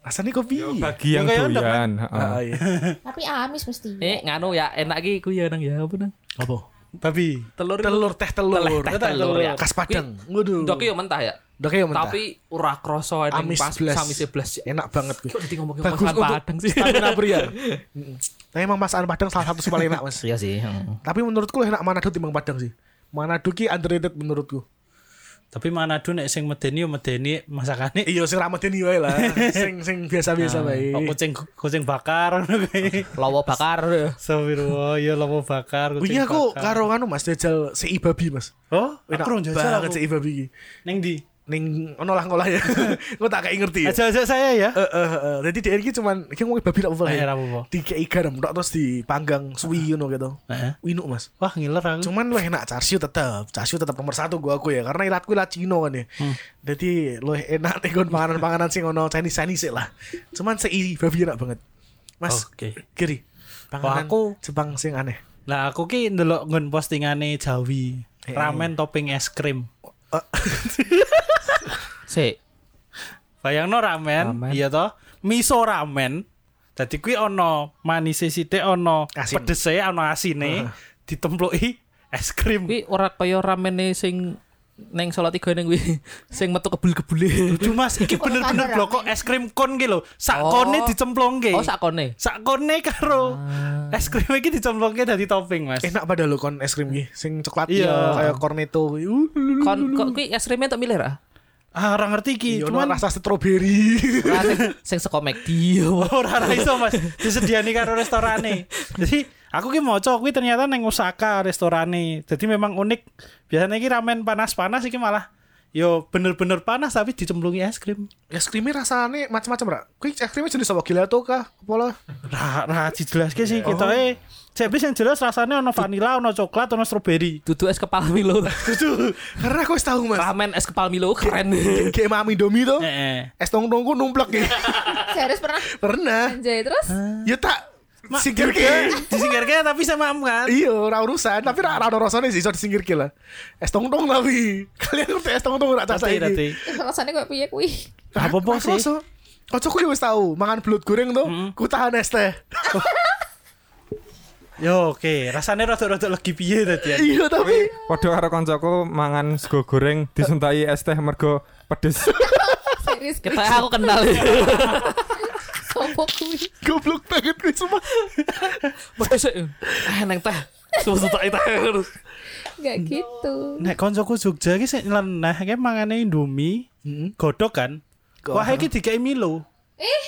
Rasanya kopi. Bagi yang Ya, kayak endok, doyan. heeh. Ah, iya. Tapi amis mesti. Eh nganu ya enak iki kuwi ya nang ya apa nang. Apa? Babi. Telur itu. Telur teh telur. Teh telur ya. Khas Padang. Kui, Waduh. Endok yo mentah ya. Ndoke yo mentah. Tapi ora krasa ning Amis pas 11. sami 11. enak banget gue. Kok jadi ngomongin Bagus masakan untuk Padang sih. Stamina pria. Mm-mm. Tapi emang masakan Padang salah satu sih paling enak mas. Iya sih. Tapi menurutku lebih enak Manado timbang Padang sih. Manado ki underrated menurutku. Tapi Manado nek sing medeni yo medeni masakane Iya sing ramadeni wae lah. Sing sing biasa-biasa wae. kok kucing kucing bakar ngono kuwi. Lawa bakar. Sawirwo ya lapo bakar kucing Wingi aku bakar. karo anu Mas jajal si babi Mas. Oh, Enak aku rong jajal banget aku. si babi iki. Ning ndi? Ning ono lah ngolah ya. Engko tak kayak ngerti. ya. Ajak-ajak saya ya. Eh, eh, eh. Jadi dia ini cuman Ini ngomongin babi tak apa-apa lah Eh, ya ra apa-apa. Ah. Dikei garam tok, Terus dipanggang Suwi you know gitu Heeh. Winuk mas Wah, ngiler aku. Cuman lu enak Char siu tetap Char siu tetap nomor satu gua aku ya Karena ilatku ilat Cino kan ya Hmm. Jadi lu enak nih kan Panganan-panganan sing ono Chinese-Chinese lah Cuman si babi enak banget Mas Oke. Kiri Panganan Oh. aku- Jepang sing aneh Lah aku ki ndelok nggon postingane Jawi. Ramen topping es krim. Sik. Bayangno ramen, Ramen. iya toh? Miso ramen. Dadi kuwi ono manise sithik ono Asin. pedese ono asine ditempluki es krim. Kuwi ora kaya ramene sing neng Salatiga ning kuwi sing metu kebul-kebule. Duh Mas, iki bener-bener ramen. bloko es krim kon ki lho. Oh. Sakone dicemplungke. Oh Ah. sakone. Sakone karo es krim iki dicemplungke dadi topping, Mas. Enak pada lo kon es krim ki Sing coklat ya, Iya. Kayak cornetto Uh, Kon kok kuwi es krimnya tak milih ra? Ah, ora ngerti iki, Iya, cuman ono rasa strawberry. Ra sing sing saka ya McD. Oh, ora ora iso Mas. Disediani karo restorane. Jadi aku ki maca kuwi ternyata neng Osaka restorane. Jadi memang unik. Biasanya iki ramen panas-panas iki malah yo bener-bener panas tapi dicemplungi es krim. es krimnya rasanya macam-macam ra. Kuwi es krimnya jenis apa gelato kah? Apa Ra ra dijelaske sih Oh. ketoke. Cebis yang jelas rasanya ono vanila, ono coklat, ono stroberi. Dudu es kepal Milo. Itu karena aku wis tahu mas. Ramen es kepal Milo keren. Kayak mami domi tuh. Heeh. Es tong tongku numplek ya. Serius pernah Pernah. anjay terus Ya tak singkir Disingkirke tapi sama am kan. Iya, ora urusan, tapi ra ra ono rasane sih iso disingkir lah. Es tong tong tapi. Kalian ngerti es tong tong ra cacah Tapi tapi iki. alasannya kayak piye kuwi. Ra- ra Apa-apa sih? kerasa. Kocok kuwi ya wis tahu, mangan belut goreng tuh, ku tahan es teh. Yo oke, rasanya rada-rada legi piye tadi ya. Iya, tapi Padha karo koncoku mangan sego goreng disuntai es teh mergo pedes. Serius Kita aku kenal. sopo kuwi. goblok banget kuwi semua. Pedes eh neng teh. Susu-susu teh terus. Enggak gitu. Nek koncoku Jogja iki sik leneh iki mangane Indomie, godhog kan. Godhog. Wah iki dikai Milo. Eh,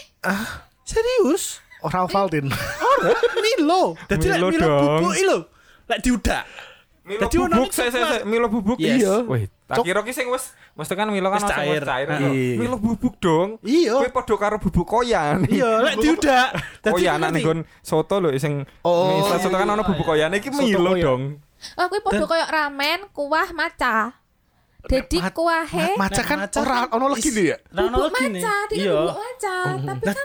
Serius? Ora Valtin. Ora Milo. Dadi lek Milo Milo dong. bubuk iki lho. Lek diudak. Milo Dadi ono bubuk, nih saya saya saya- Milo bubuk. Yes. Iya. Wih, tak Cok. kira ki sing wis mesti kan Milo kan Wis langsung wis cair. cair. Heeh. Iya. Iya. Milo bubuk dong. Iya. Kuwi padha karo bubuk koyan. Iya, lek diudak. Oh iya, kan anak ngerti. nggon soto lho sing Oh, misal soto kan ono bubuk koyane iki Milo koyan. dong. oh kuwi padha koyo ramen, kuah maca. Jadi Mat- kuahe Maca kan Maca ora kan ono lagi is- nih ya. Lah, ono bubuk lagi nih. maca, dia Iya. bubuk maca, Oh, tapi kan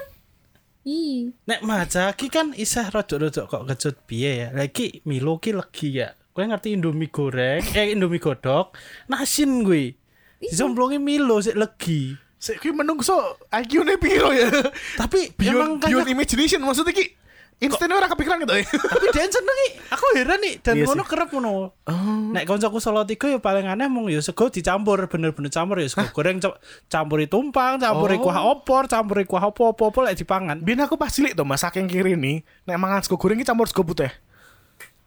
Ih, Nek maca iki kan isih rada-rada kok kecut piye ya. Lah iki Milo ki legi ya. Kowe ngerti Indomie Nah, Iya. goreng, eh Indomie godhog, nasin kuwi. Disemplungi Milo sik legi. Sik kuwi menungso IQ-ne piro ya? Tapi Beyond, memang beyond kayak imagination maksudnya ki instan ora kepikiran gitu ya. tapi dia seneng nih. Aku heran nih dan Iya sih. ngono kerep ngono. Nek koncoku solo tiga ya paling aneh mung ya sego dicampur bener-bener campur ya sego goreng ca- campuri tumpang, campuri Oh. kuah opor, campuri kuah opo-opo lek dipangan. Biar aku pas cilik tuh mas saking kiri nih, nek mangan sego goreng ki campur sego putih.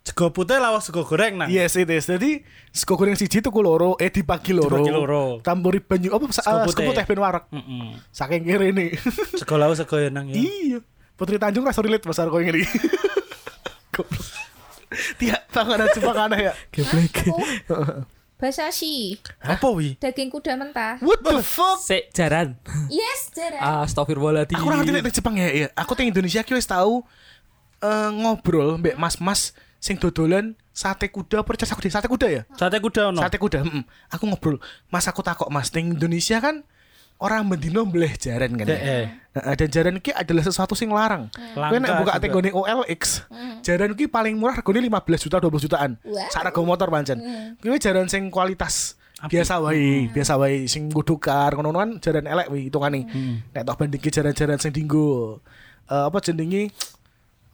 Sego putih lawas sego goreng nang. Yes it is. Jadi sego goreng siji tuku loro, eh dibagi loro. Dibagi loro. Campuri banyu apa sa- Sego eh, sego putih. putih ben wareg. Mm-mm. Saking kiri nih. Sego lawas sego ya nang ya. Iya. Putri Tanjung rasa relate pasar kau ini. Goblok. Tiap tangan cuma aneh ya. Aku Basashi, Apa wi? Oh. daging kuda mentah. What the fuck? Sik jaran. Yes, Ah. Jara. Astagfirullahaladzim. Aku ora ngerti nek di Jepang ya, ya. Aku teng Indonesia ki wis tau eh, ngobrol mbek mas-mas sing dodolan sate kuda percaya sate kuda, sate kuda ya? Sate kuda ono. Sate kuda. mm. Aku ngobrol, Mas aku takok Mas teng Indonesia kan orang mendino bleh jaran kan. Ya? Heeh. Nah, dan jaran ki adalah sesuatu sing larang. Kowe nek Langka buka juga. tegone OLX, jaran ki paling murah regane 15 juta 20 jutaan. Wow. Sak rego motor pancen. Kuwi jaran sing kualitas biasa wae, biasa wae sing kudukar ngono kan jaran elek wae hitungane. Nek tok bandingke jaran-jaran sing dinggo eh, apa jenenge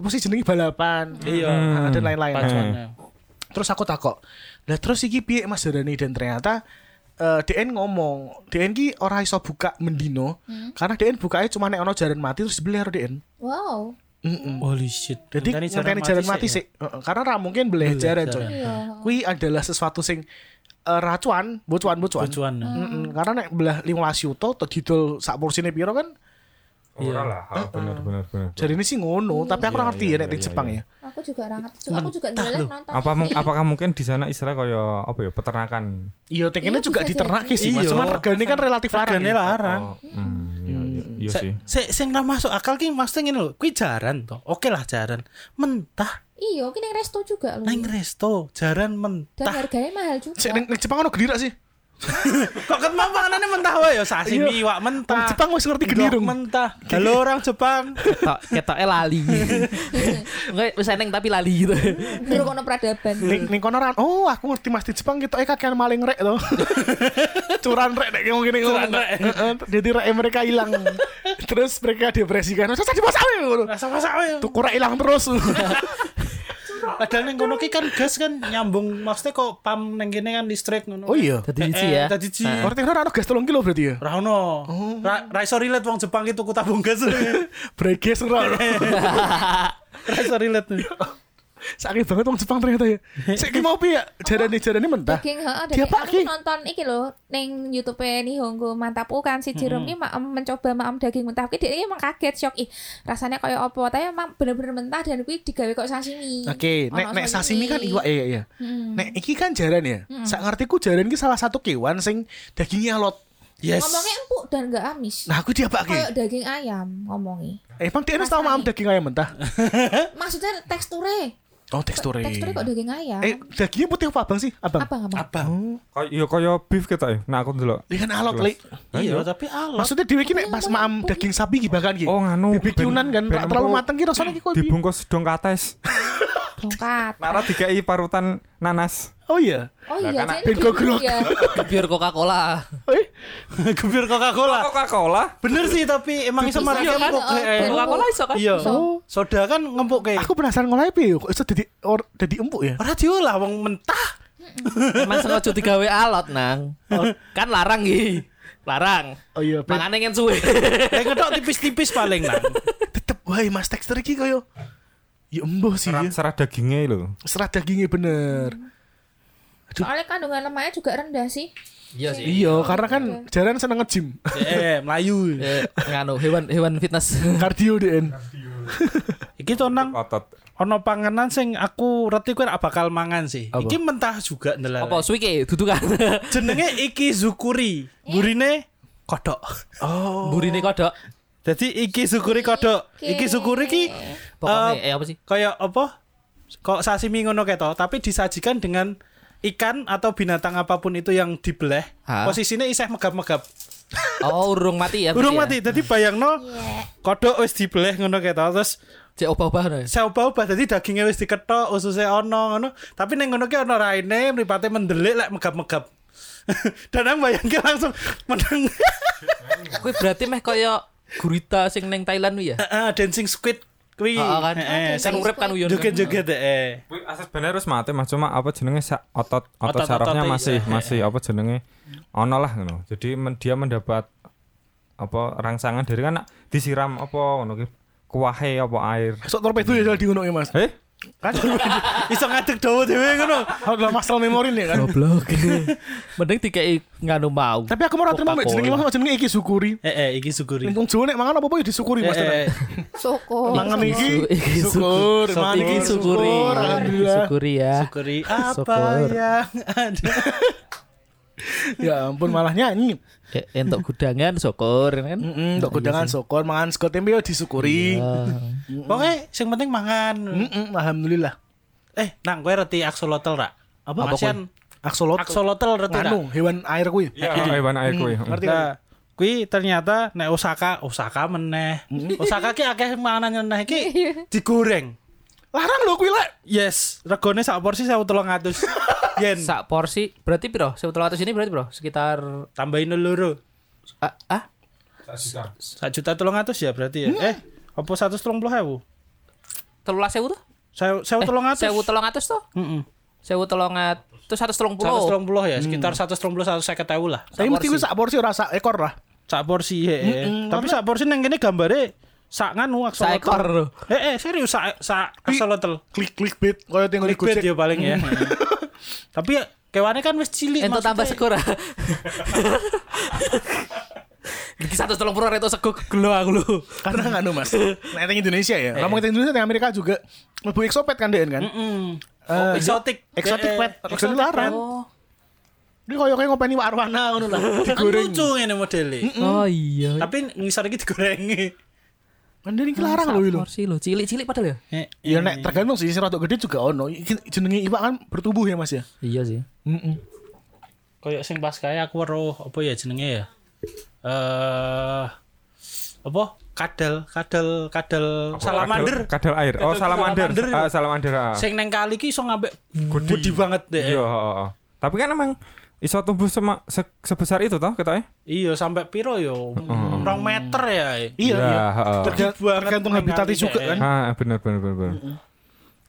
apa sih jenenge balapan. Iya. Nah, dan lain-lain. Hmm. Pacuannya. Terus aku takok. Lah terus iki piye Mas Darani dan ternyata eh, DN ngomong, DN ki ora iso buka mendino karena DN bukanya cuma nek ono jaran mati terus dibeli karo DN. Wow. Mm-mm. Holy shit. Jadi Ngenteni ngenteni jaran mati sih, sik Heeh, karena ra mungkin beleh Beleh jaran jaran. coy. Iya. Kui adalah sesuatu sing eh, racuan, bocuan ya. bocuan. Tujuan. Mm-mm, Karena nek belah 15 yuto atau didol sak porsine piro kan Ora lah, ah, bener bener bener. jarine sih ngono, tapi aku ora ngerti ya nek di Jepang ya. Aku juga orang ngerti. Aku juga ndelek nonton. Apa mung- apakah mungkin di sana istilah kaya apa ya peternakan? Iya, tekene Iya, juga bisa diternaki jadi. sih, Mas. Iya. Cuman regane kan relatif larang. Regane ya. larang. Oh, hmm, iya, iya, iya Sik sih. sik sing ra masuk akal ki maksudnya ngene lho. Kuwi jaran to. Oke lah jaran. Mentah Iya, ki ning resto juga lho. nang resto, jaran Dan mentah. harganya mahal juga. Sik ning ning Jepang ono gelirak sih. Kok kan mau makanannya mentah wae ya sashimi iwak Iya. mentah. Wong Jepang wis ngerti geni Ndok dong. mentah. Halo orang Jepang. ketok ketoknya lali. Enggak wis eneng tapi lali gitu. Durung ono peradaban. Ning ning kono ra- oh aku ngerti Mas di Jepang ketoke kakean maling rek to. Curan rek nek ngomong ngene ngomong. Curan rek. Heeh, Jadi rek mereka hilang. Terus mereka depresi kan. Saya di pasar ngono. Rasa-rasa wae. Tuku rek hilang terus. Padahal ning kono ki kan gas kan nyambung maksudnya kok pam ning kene kan listrik ngono. Oh iya. Dadi Eh, siji eh, ya. Dadi siji. Orang tinggal ada gas tolong kilo berarti ya. Ra ono. Ra ra iso relate wong Jepang ki tuku tabung gas. Ra Breges ora. iso relate. Sakit banget wong Jepang ternyata ya. Sik ki mau piye? Jarane-jarane mentah. Daging heeh, Dia daging. Aku pakai. nonton iki lho ning YouTube Nihongo Mantap U kan si Hmm. Jerome ki maem mencoba maem daging mentah ki dia emang kaget shock ih rasanya kayak opo tapi emang bener-bener mentah dan kuwi digawe kok sashimi. Oke, Iya. Ono nek nek sashimi kan iwak ya ya, ya. Hmm. Nek iki kan jaran ya. Sak ngertiku jaran ki salah satu kewan sing dagingnya alot. Yes. Ngomongnya empuk dan gak amis. Nah, aku diapake. Eh, Kayak daging ayam ngomongi. Emang dia tau maam daging ayam mentah. Eh? Maksudnya teksturnya, Oh, teksturnya. teksturnya kok daging ayam. Eh, dagingnya putih apa abang sih? Abang. Apa ngomong? Abang. Kaya iya kaya beef ketok ya. Nah aku ndelok. Ini kan alot, Li. Iya, tapi alot. Maksudnya dhewe ki nek pas Apa yang maam putih? daging sapi ki bahkan ki. Oh nganu. Bibik ben- Yunan kan ben ra terlalu empuk. Eh, mateng ki rasane ki koyo piye? Dibungkus dong kates. Bongkat. Nah, Nara dikei parutan nanas. Oh iya. Oh iya, karena- jadi Ben gitu gogrok. ya. Biar Coca-Cola. Eh, Gebir Coca-Cola. Coca-Cola. Bener sih tapi emang iso Bisa mari kan? ngempuk Oh, kayak- ben- Coca-Cola iso kan? Iya. Iso. Soda kan ngempuk Eh. kayak. aku penasaran ngolahe piye kok iso dadi or dadi empuk ya? Ora diolah wong mentah. Emang sengaja digawe alot nang. Kan larang iki. Larang. Oh iya, ben. Mangane ngen suwe. Kayak ngedok tipis-tipis paling nang. Tetep wae Mas tekstur iki koyo ya embuh sih ya. Serat dagingnya lho. Serat dagingnya bener. Soalnya kandungan lemaknya juga rendah sih. Iya Iya, karena kan jaran seneng nge-gym. Eh, Melayu. Nganu hewan hewan fitness. Kardio DN. Iki to nang Otot. ono panganan sing aku reti kuwi rak bakal mangan sih. Apa? Iki mentah juga ndelala. Apa suwike dudukan. Jenenge iki zukuri. Gurine kodok. Oh. Burine kodok. Jadi iki zukuri kodok. Iki zukuri ki Pokoknya eh, eh apa sih? kayak apa? Kok sashimi ngono keto, tapi disajikan dengan ikan atau binatang apapun itu yang dibelah. Hah? Posisinya iseh megap-megap. Oh, urung mati ya. Burung berarti mati. Jadi bayangno kodok wis dibelah ngono keto terus ya? Cek obah-obahan. ya? seubah-ubah dadi dagingnya wis diketok ususe ono ngono tapi ning ngono ki ono raine mripate mendelik lek megap-megap dan yang bayangke langsung menang Kuwi berarti meh kaya gurita sing neng Thailand kuwi ya. Heeh, Ah, dancing squid kuwi. Heeh kan. Iya. Heeh, Kan sing urip kan uyon. joget-joget eh, heeh. Kuwi asas bener harus mati mas cuma apa jenenge sa- otot otot Otot-ototnya, sarafnya iya. masih masih apa jenenge ono lah ngono. Jadi men- dia mendapat apa rangsangan dari kan disiram apa ngono ki kuahe apa air. Sok torpedo ya di ngono ya, Mas. Eh, Kan Iso ngadeg dawa dhewe ngono. udah masalah memori nih kan. Goblok. Mending dikei nganu mau. Tapi aku mau terima mbak jenenge Mas, jenenge iki syukuri. Heeh, Eh, iki syukuri. Eh, Untung Jawa nek mangan apa-apa ya disyukuri Mas. tenan. Heeh. Soko. Mangan iki Iki syukur, mangan Iki syukuri. alhamdulillah. Syukuri ya. Syukuri apa Syukur. yang ada. Ya ampun malah nyanyi. Eh, Entuk gudangan syukur kan. Eh. Heeh, ndok godangan syukur, mangan sego tempe ya disyukuri. Iya. Pokoknya sing penting mangan. Heeh, alhamdulillah. Eh, nang kowe reti axolotl ra? Apa Apa Asian? Axolotl. Axolotl reti ra? Anu, hewan air kuwi. iya hewan air kuwi. Ngerti kan? Nah, kui ternyata nek Osaka, Osaka meneh. Osaka ki akeh manganan meneh ki Iya. digoreng. Larang lho kuwi lek. Yes, regane sak porsi 1300 yen. Sak porsi berarti piro? 100 ini berarti piro? Sekitar Tambahin loro. ah, ah? Sak juta 300 ya berarti ya. Eh, apa 130.000? 13.000 tuh? Eh, Saya saya 300. 1.300 tuh? Heeh. 1.300 terus 130. 130 ya, Mm. sekitar 130 150.000 lah. Tapi mesti kuwi sak porsi ora sak ekor lah. Sak porsi heeh. Tapi sak porsi nang kene gambare sak nganu axolotl. Sak ekor lho. Eh, eh serius sak sak Kui- axolotl. Klik klik bit koyo tengok di Clickbait Gojek. ya paling ya. Tapi ya, kewannya kan wis cilik Entuk tambah maksudnya. sekor. Iki 130 reto sego gelo aku lho. Karena kan anu mas Nah yang Indonesia ya Ngomong tentang Indonesia tentang Amerika juga Lebih eksopet kan Dean kan Oh, eksotik. Eksotik Eh, pet eh, Eksotik larang Oh. Dia koyo koyo ngopeni warwana ngono lah Kan Digoreng lucu ngene modele. Oh iya. Tapi ngisor iki digorengi. Kan dia ini larang loh Sak itu Porsi lho, cilik-cilik padahal ya. Ya nek tergantung sih Sing rotok gede juga ono Iki Jenenge iwak kan bertubuh ya mas ya Iya sih. Kayak sing pas kaya aku weruh apa ya jenenge ya? Eh apa? Kadal, kadal, kadal salamander. Kadal air. Oh, salamander. Salamander. Ah, salamander. ah. Sing neng kali ki iso ngambek Gudi. gudi banget deh. Iya, heeh, heeh. Tapi kan emang iso tumbuh sema- se- sebesar itu toh ketoke? Iya, sampai piro yo? Rong meter ya. Iya iya. heeh. Terga- Tergantung habitatnya juga kan Ah, bener bener bener. bener.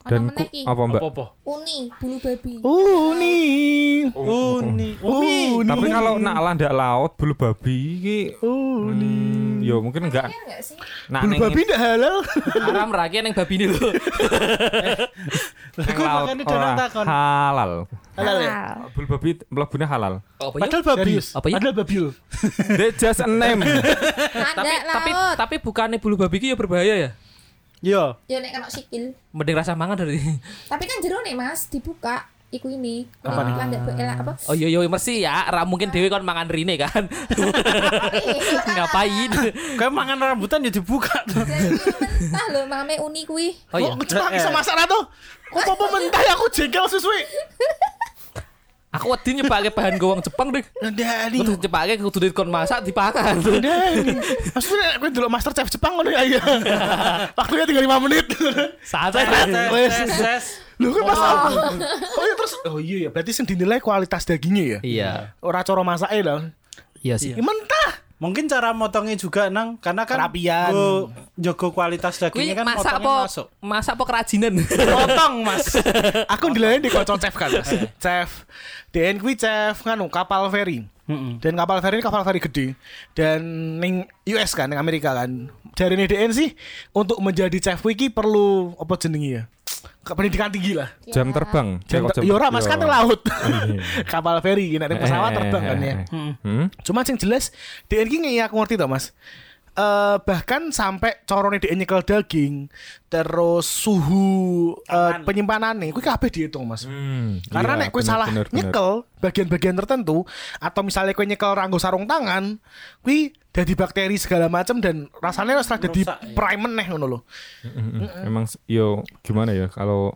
Ono ku- meneh iki. apa Mbak? Apa-apa? Uni, Iya. bulu babi. Oh nih Uni, Oh nih Tapi kalau nak landak laut bulu babi iki hmm, yo mungkin enggak Kan enggak sih? nak Bulu ning- babi ndak halal Haram raki yang babi ini lho. ning Aku laut Oh, ah. makanya ora dorong kan. takon. halal. Halal ya Halal. Bulu babi melebune halal. Apa ya? Padahal babi Serius? Apa ya? Padahal babi lho. They just a name. Tapi Landak tapi laut. tapi bukannya bulu babi ki ya berbahaya ya? Iya. Yo, Ya nek kena sikil. Mending rasa mangan dari. Tapi kan jero nih Mas, dibuka iku ini. Apa nih? Landak be- elak apa? Oh iya iya mesti ya, ra mungkin dewe kon mangan rine kan. Ngapain? kayak mangan rambutan ya dibuka tuh. Jadi mentah lho, mame uni kuwi. Oh iya. Kok cepak bisa masak ra tuh? Kok apa mentah ya, aku jengkel sesuai Aku wedi nyepake bahan gowong Jepang deh. Ndak Kudu nyepake Iya. kudu duit kon masak dipakan. Dani. Maksudnya aku dulu master chef Jepang ngono ya. iya. Waktunya tinggal 5 menit. Santai. Wes. Tes, tes. Lho kan mas Oh iya terus oh iya ya berarti sing dinilai kualitas dagingnya ya. Iya. Ora cara masake lho. Iya sih. Ya mentah. Mungkin cara motongnya juga nang karena kan Perapian. nggo- Jogo kualitas Kuwi dagingnya kan masak motongnya apa? masuk. Masak apa kerajinan? Potong, Mas. Aku dinilai di kocok chef kan mas. Iya. Chef. Dan kuwi chef nganu kapal feri. Dan kapal feri ini kapal feri gede dan ning US kan ning Amerika kan. Dari ini DN sih untuk menjadi chef wiki perlu apa jenenge ya? Ke- Pendidikan tinggi lah. jam terbang. Jam, Jam- yo ora mas kan Yo. Eh, ning laut. Iya, kapal feri nek ning pesawat terbang kan ya. Hmm? Cuma sing jelas DN ki ngeyak ya, aku ngerti to Mas. Eh bahkan sampai corone DN nyekel daging, terus suhu eh, penyimpanannya, kuwi kabeh dihitung Mas. Hmm, Karena iya, nek kue bener, salah bener, bener. nyekel bagian-bagian tertentu atau misalnya kue nyekel ranggo sarung tangan, kue dari bakteri segala macam dan rasanya setelah jadi Rusak, iya. prime meneh ngono loh. Mm-mm. Hmm, Emang s- yo gimana ya kalau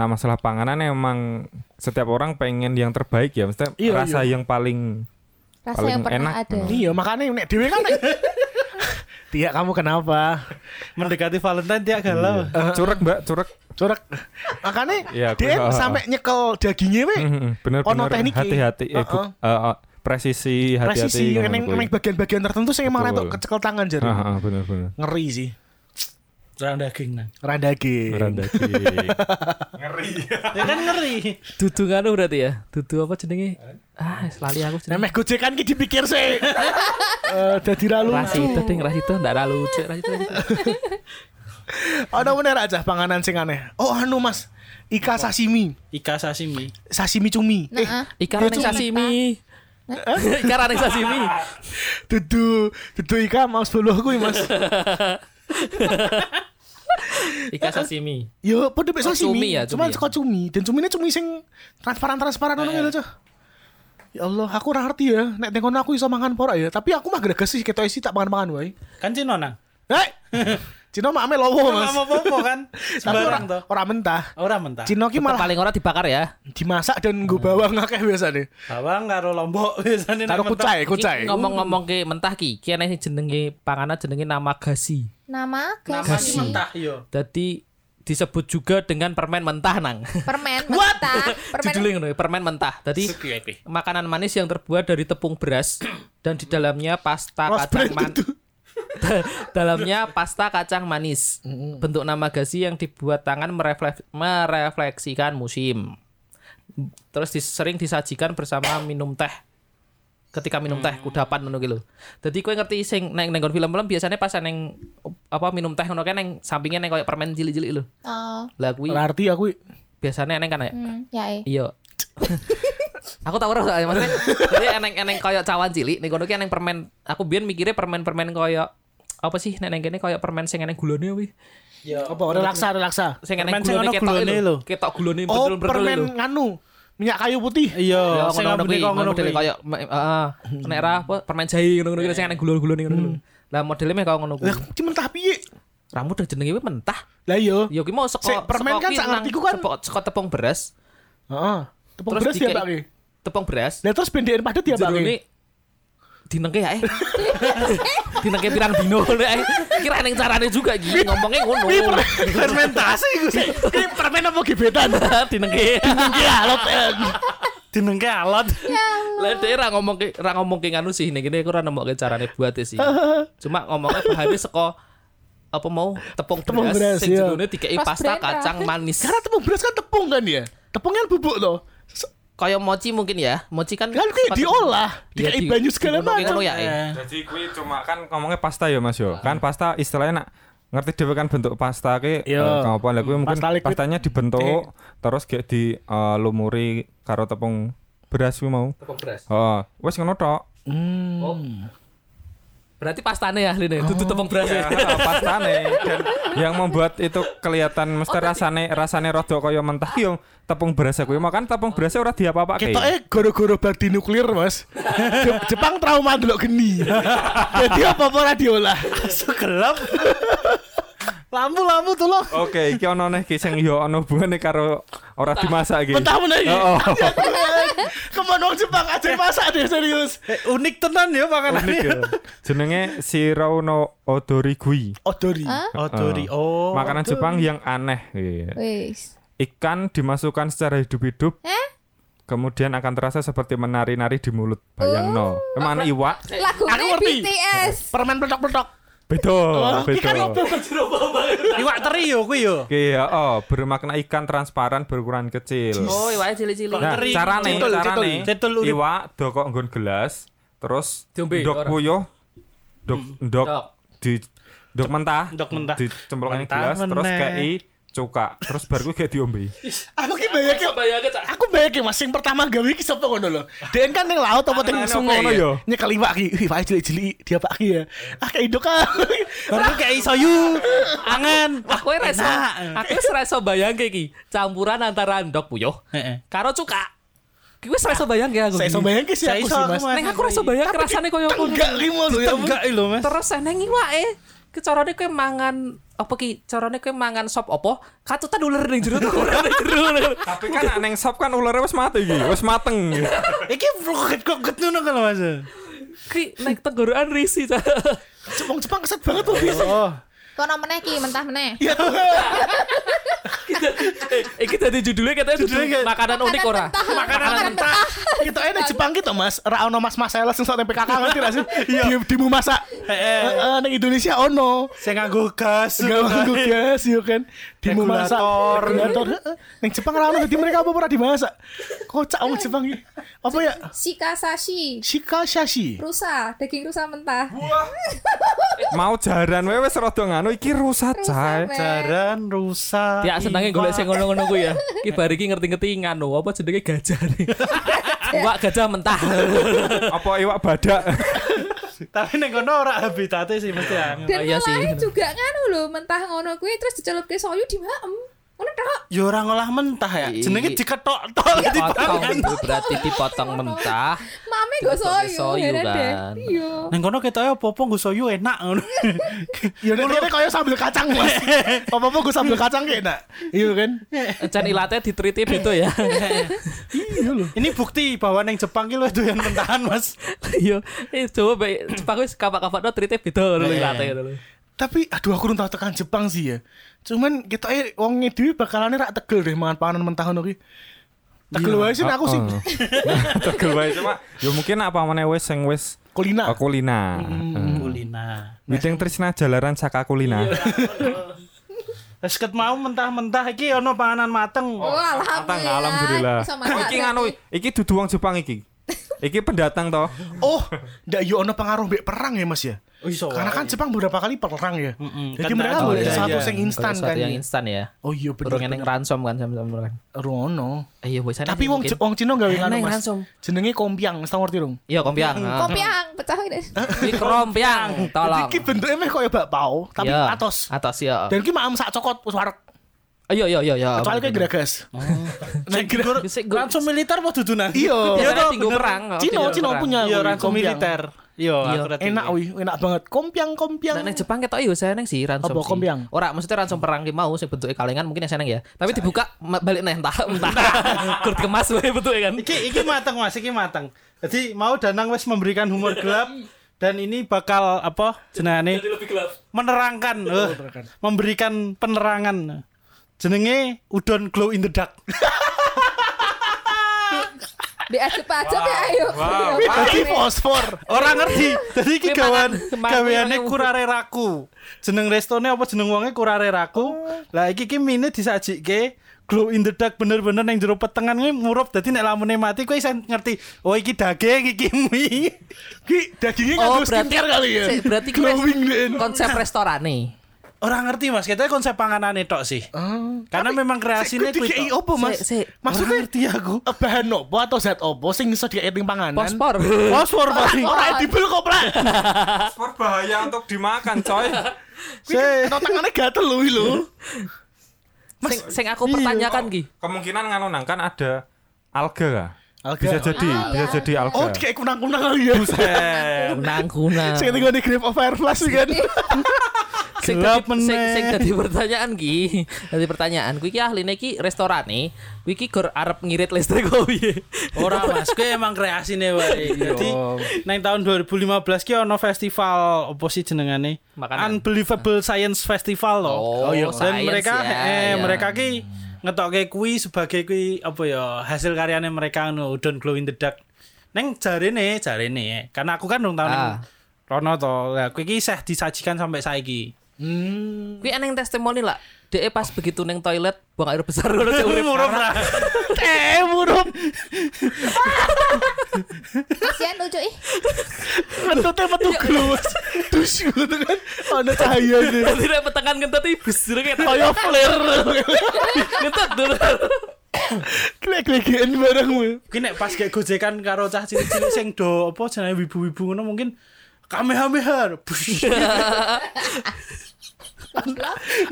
nah masalah panganan emang setiap orang pengen yang terbaik ya, maksudnya Iya, rasa yang paling Rasa Paling yang pernah enak. ada. Iya, makanya nek dhewe kan nek Tia kamu kenapa? Mendekati Valentine dia Eh, galau. curek mbak curek Corak. Makanya Iya, aku dia tahu. sampai nyekel dagingnya we. Mm-mm, Hmm, bener Ono bener teknik hati-hati eh, Heeh. bu- eh, eh, presisi hati-hati presisi ngono neng kuwi. neng bagian-bagian tertentu sing emang retok Betul. kecekel tangan jadi Ah, ah, bener bener. ngeri sih Terang daging nang. randage Merandaki. Ya kan ngeri. Dudu anu berarti ya. Dudu apa jenenge? Ah, lali aku jenenge. Nemeh gojekan ki dipikir sih. Eh dadi ra lucu. Rasito ding rasito ndak ra lucu rasito. Ono meneh Ra, Cah, panganan sing aneh. Oh anu Mas, ika sashimi, Ika sashimi. sashimi cumi. Eh, Nah, Ikan ning sashimi. Ikan ning sashimi. dudu dudu ika mau sepuluh kuwi Mas. Ikan sashimi. Yo padha mek Oh, cumi sashimi. ya, cumi Cuman ya. Eh. saka cumi, dan cumine cumi sing transparan-transparan ngono lho, Cah. Ya Allah, aku ora ngerti ya. Nek tengok aku iso mangan apa ora ya. Tapi aku mah greges sih ketok isi tak mangan-mangan wae. Kan Cino nang. Hei. Cino mak ame lowo, Mas. Nggak mau popo kan. Tapi ora Sembarang toh. ora mentah. Ora mentah. Cino Oh, ki Tetep malah paling Hmm. ora dibakar ya. dimasak dan gue bawang akeh biasanya. Bawang karo lombok biasanya Taruh kucai, kucai. Iki Ngomong-ngomong ke mentah ki, ki ana sing jenenge panganan jenenge namagasi. nama Nama gasi mentah iya. yo. Dadi disebut juga dengan permen mentah nang. permen mentah, permen Judulnya ngono, ya, permen mentah. Dadi Iya, makanan manis yang terbuat dari tepung beras dan di dalamnya pasta Mas kacang Brand manis. dalamnya pasta kacang manis. Bentuk namagasi yang dibuat tangan merefleks- merefleksikan musim. Terus dis- sering disajikan bersama minum teh. Ketika minum teh kudapan ngono ki lho. Dadi kowe ngerti sing neng nenggon film-film biasanya pas neng apa minum teh ngono kae neng sampingnya neng koyo permen cilik-cilik lho. oh Lah kuwi Iya. Berarti aku biasanya neng kan ya. hmm, ya eh. Iya. aku tak ora soalnya maksudnya jadi eneng-eneng koyo cawan cilik ning kono ki eneng permen. Aku biyen mikirnya permen-permen koyo apa sih nek neng kene koyo permen sing eneng gulane kuwi. apa relaksa relaksa. Sing eneng Permen sing ono gulane ketok gulone lho. lho. Ketok gulane Oh betul-betul lho. permen nganu minyak kayu putih. Iya, Ya sing ngono-ngono kuwi, ngabene kok ngono modele kuwi. koyo heeh. Nek ra apa permen jahe ngono-ngono kuwi sing eneng gulane-gulane ngono kuwi. Lah modele meh koyo ngono kuwi. Lah ki mentah piye? Ramu udah jenenge kuwi mentah. Lah iya. Ya ki mau seko Sik, permen seko kan ki sak nang- ngertiku kan. seko- seko tepung beras, Heeh. Tepung Terus beras ya dikei- Pak. Ki? tepung beras, Lah terus bendekin padet ya Pak. Ki? jerone dinengke ya eh. dinengke pirang dino ngono eh. Kira neng carane juga iki ngomongnya ngono. Ini per- fermentasi iku sih. Ini permen apa gebetan? dinengke. Ya lot. Dinengke alot. Lah dhek ra ngomongke ra ngomongke nganu sih ning kene aku ora nemokke carane buat sih. Cuma ngomongnya bahane saka apa mau tepung Tepung beras, beras sing iya. jerone dikei Mas pasta Brenda. kacang manis. Karena tepung beras kan tepung kan ya. Tepungnya bubuk loh. Se- Kayak mochi mungkin ya. Mochi kan Kan kayak diolah, Iya, dikei di- banyu segala diunggah macam. ngono ya, eh. Eh, Jadi kuwi cuma kan ngomongnya pasta ya Mas yo. Kan pasta istilahnya nak ngerti dhewe kan bentuk pasta ki Iya. eh, apa lah kuwi mungkin Pasta liquid. Eh. pastanya dibentuk terus kayak di eh, lumuri karo tepung beras kuwi mau. Tepung beras. Heeh. wes ngono tok. Oh. Berarti pastane ya Lene, tutu tepung beras. Oh, iya. ya. Heeh, pastane dan yang membuat itu kelihatan mesti rasane rasane rada kaya mentah ki yo tepung beras kuwi makan tepung berasnya ora Iya. diapa-apake. Ketoknya goro-goro bakti nuklir mas Je- Jepang trauma dulu geni Jadi apa-apa lah diolah segelap. Lampu-lampu tuh lo. Oh, Oke, iki ono neh ki sing yo ono hubungane karo ora dimasak iki. Mentah menaik Oh, oh. Iya, Kemenang Jepang aja masak deh serius Eh, unik tenan ya unik makanannya. ya. Jenenge Shirao no Odorigui. Odori Odori. Oh. Makanan Jepang yang aneh. Iya. Wis. Ikan dimasukkan secara hidup-hidup. Kemudian akan terasa seperti menari-nari di mulut. Bayang Oh. no. Emang anak iwak? Lagu Aku ngerti. BTS. Permen peletok-peletok Oh, Betul, Ikan betul. apa? Iwak teri yo kuwi yo. Oke, ya, oh, bermakna ikan transparan berukuran kecil. Oh, iwake cilik-cilik. Nah, Teri. carane, Cetul, carane, cetul, cetul urip. iwak dokok nggon gelas, terus Diombe, ora. ndok puyuh, ndok ndok Ndok. di ndok mentah, Hmm. Ndok mentah. dicemplungin Mentah gelas, terus meneh. kei cuka, terus baru kayak diombe. Aku ki bayangin Aku bayangin mas Yang pertama gawe ki sapa ngono lho Dia kan yang laut apa yang Anak-anak sungai apa ya ya? Nyekel iwak ki Wih pak jeli-jeli Dia pak ki ya Ah kayak Ah, indok ah Baru kayak soyu. Angan. Wah, kowe reso. enak. Aku wis reso bayangke iki, campuran antara ndok puyuh Heeh. karo cuka. Ki wis reso bayangke aku. Saya iso bayangin sih Saya aku iso sih aku, mas Mas. Neng aku reso bayang rasane koyo ngono. Enggak limo lho ya ampun. Enggak lho Mas. Terus eh, neng iwake, ki carane kowe mangan apa ki? Carane kowe mangan sop apa? Katutan ular ning jero tuh, ular ning jero. Tapi kan nek neng sop kan ularnya wis mati iki, wis mateng. Iki roket-roket ngono kan Mas. Ki nek tenggorokan risi. Cak. Jepang Jepang keset banget tuh Oh. Kono meneh ki mentah meneh. Ya. kita eh, kita di judulnya katanya Judulnya judul kayak- makanan unik ora. Makanan mentah. Kita enak Jepang gitu mas Ra ono mas mas sales Sensok TPKK ngerti gak sih Di di mu masak Eh, Heeh, Neng Indonesia ono Saya nganggo gas. Gak nganggu gas yo kan Di mu masak Regulator. Regulator heeh. Neng Jepang ra ono Jadi mereka apa pernah dimasak Kocak wong Jepang ini Apa ya Shikasashi. Shika shashi Rusa, daging rusa mentah. Mau jaran wewe wis rada nganu iki rusak Rusa, cah. men. Jaran rusak. Ya senenge golek sing ngono-ngono ku ya. Ki bar iki ngerti-ngerti nganu apa jenenge gajah. nih. Wak gajah mentah. Apa iwak badak? Tapi neng kono ora habitate sih mesti angin. Dan Oh, iya sih. mulai juga nganu lho, mentah ngono kuwi terus dicelupke soyu dimaem. Ngono tok. Ya ora ngolah mentah ya. Iya. Jenenge diketok-tok di Potong tangan. itu kan berarti dipotong mentah. Mame go Dipotongnya soyu, soyu, heran deh. kan. Iya. Nah, Neng kono ketoke opo-opo nggo soyu enak ngono. Ya nek kene kaya sambil kacang mas Apa-apa gue sambil kacang kayak enak Iya kan Encen ilate diteriti itu ya. Iya Ini bukti bahwa neng Jepang ki luwih doyan mentahan, Mas. Yo, eh coba bae Jepang wis kapak-kapakno trite beda lho ilate gitu lho. Tapi aduh aku udah tekan Jepang sih ya Cuman kita eh wongnya dhewe bakalannya rak tegel deh Makan panganan mentah ngono ki Tegel wae sih nek aku sih Heeh. Tegel wae cuma ya mungkin apa meneh wis sing wis Kulina eh, kulina. Heeh. Kulina. Miting Trisna jalaran saka kulina. Iya. Wes ket mau mentah-mentah iki ono panganan mateng. Oh, alhamdulillah. alhamdulillah. Bisa masak Oh, iki nganu, berarti. iki dudu wong Jepang iki. Iki pendatang toh. Oh, ndak yo ono pengaruh mbek perang ya Mas ya. Oh, iso Karena kan Jepang beberapa kali perang ya. Mm-mm. Jadi Kan mereka tak boleh ada, sesuatu iya. yang instan Sesuatu kan. yang ya. instan ya. Oh iya bener. Burung eneng ransom kan sama-sama kan. Rono. Ayo wis Tapi wong Je- wong Cina gawe ngono Eneng Mas. ransom. Jenenge kompiang, wis tau ngerti dong. Iya kompiang. ah. Kopiang, pecah ini. Ini kerompiang, tolong. Iki bentuke meh koyo bakpao, tapi Iya, atos. Atos ya. Dan ki maem sak cokot wis warek. Iya iya iya iya. Kecuali kayak geragas. Nek geragas. Sik, gua- Rancu militer mau dudu nang. Iya. Iya toh, tinggu bener. perang. oh, Cina, tinggu Cina perang. punya Iya, wih, rancu kompiang. militer. Iya, Iya, aku rada Enak tinggi. wih, enak banget. Kompiang, kompiang. Nah, neng Jepang ketok yo saya neng sih ransom. Apa, sih. kompiang? Ora maksudnya ransom perang ki mau sing bentuke kalengan mungkin yang seneng ya. Tapi dibuka ma- balik neh entah entah. Kurt kemas wae bentuke kan. Iki iki mateng Mas, iki mateng. Jadi mau Danang wis memberikan humor gelap dan ini bakal apa jenenge menerangkan eh, memberikan penerangan jenenge udon glow in the dark Di ajep-ajep ya ayo. Iya, Jadi Pak. fosfor. orang ngerti jadi iki Memang gawean kan, gaweane memang- kurare raku jeneng restone apa jeneng wonge kurare Oh. raku lah iki iki mine disajikke glow in the dark bener-bener yang jero petengan ini murup jadi nek lamune mati kowe isen ngerti oh iki daging iki mie Ki dagingnya nggak terus skincare kali ya. sik, Oh, berarti ki glowing wes den. konsep restoran nih. orang ngerti mas kita konsep panganan tok sih Oh. karena memang kreasinya Sik, kuwi dikei kuwi tok. opo mas? Sik, sik. Maksudnya Orang ngerti aku. eh, Bahan opo atau zat opo sing iso dikei ning panganan? Pospor. fosfor paling Ora edible kok, Prak. Paspor bahaya untuk dimakan, coy. Sik. Kena tangannya gatel lho lho. Sing sing Iya. aku pertanyakan ki. Kemungkinan nganu nang kan ada alga kah? Alga. Bisa jadi, Ah, bisa iya. jadi alga. Oh, dikei kunang-kunang kali ya. Kunang kunang. Sing tinggal di Grave of Fireflies sih kan. sing Gelap dadi- sing meneh. sing dadi pertanyaan ki dadi pertanyaan kuwi ki ahline ki restoran nih kuwi ki gor arep ngirit listrik kok piye Oh. Ora mas, gue emang kreasine wae. Iya. Jadi nang tahun 2015 ki ono festival opo sih jenengane? Makanan. Unbelievable Science Festival loh. Oh, iya. Dan science mereka ya, eh ya. mereka ki ngetokke kuwi sebagai kuwi apa ya hasil karyane mereka ngono Don't Glow in the Dark. Neng jarene, jarene. Karena aku kan dong tahun ah. Ah. Rono to. Lah kuwi ki seh disajikan sampai saiki. Hmm. kuwi eneng testimoni lah Dek pas begitu neng toilet buang air besar ngono cek urip. Murup ra. Eh, murup. Kasihan lucu ih. Kentutnya metu glow. Dus gitu kan. Ada cahaya gitu. Dadi nek petengan kentut iki bus jero kayak Kayak flare. Oh, iya. kentut dulu. Klek-klekin bareng. weh. Mungkin nek pas kayak gojekan karo cah cilik-cilik sing do apa jenenge wibu-wibu ngono mungkin kamehameha. Bush.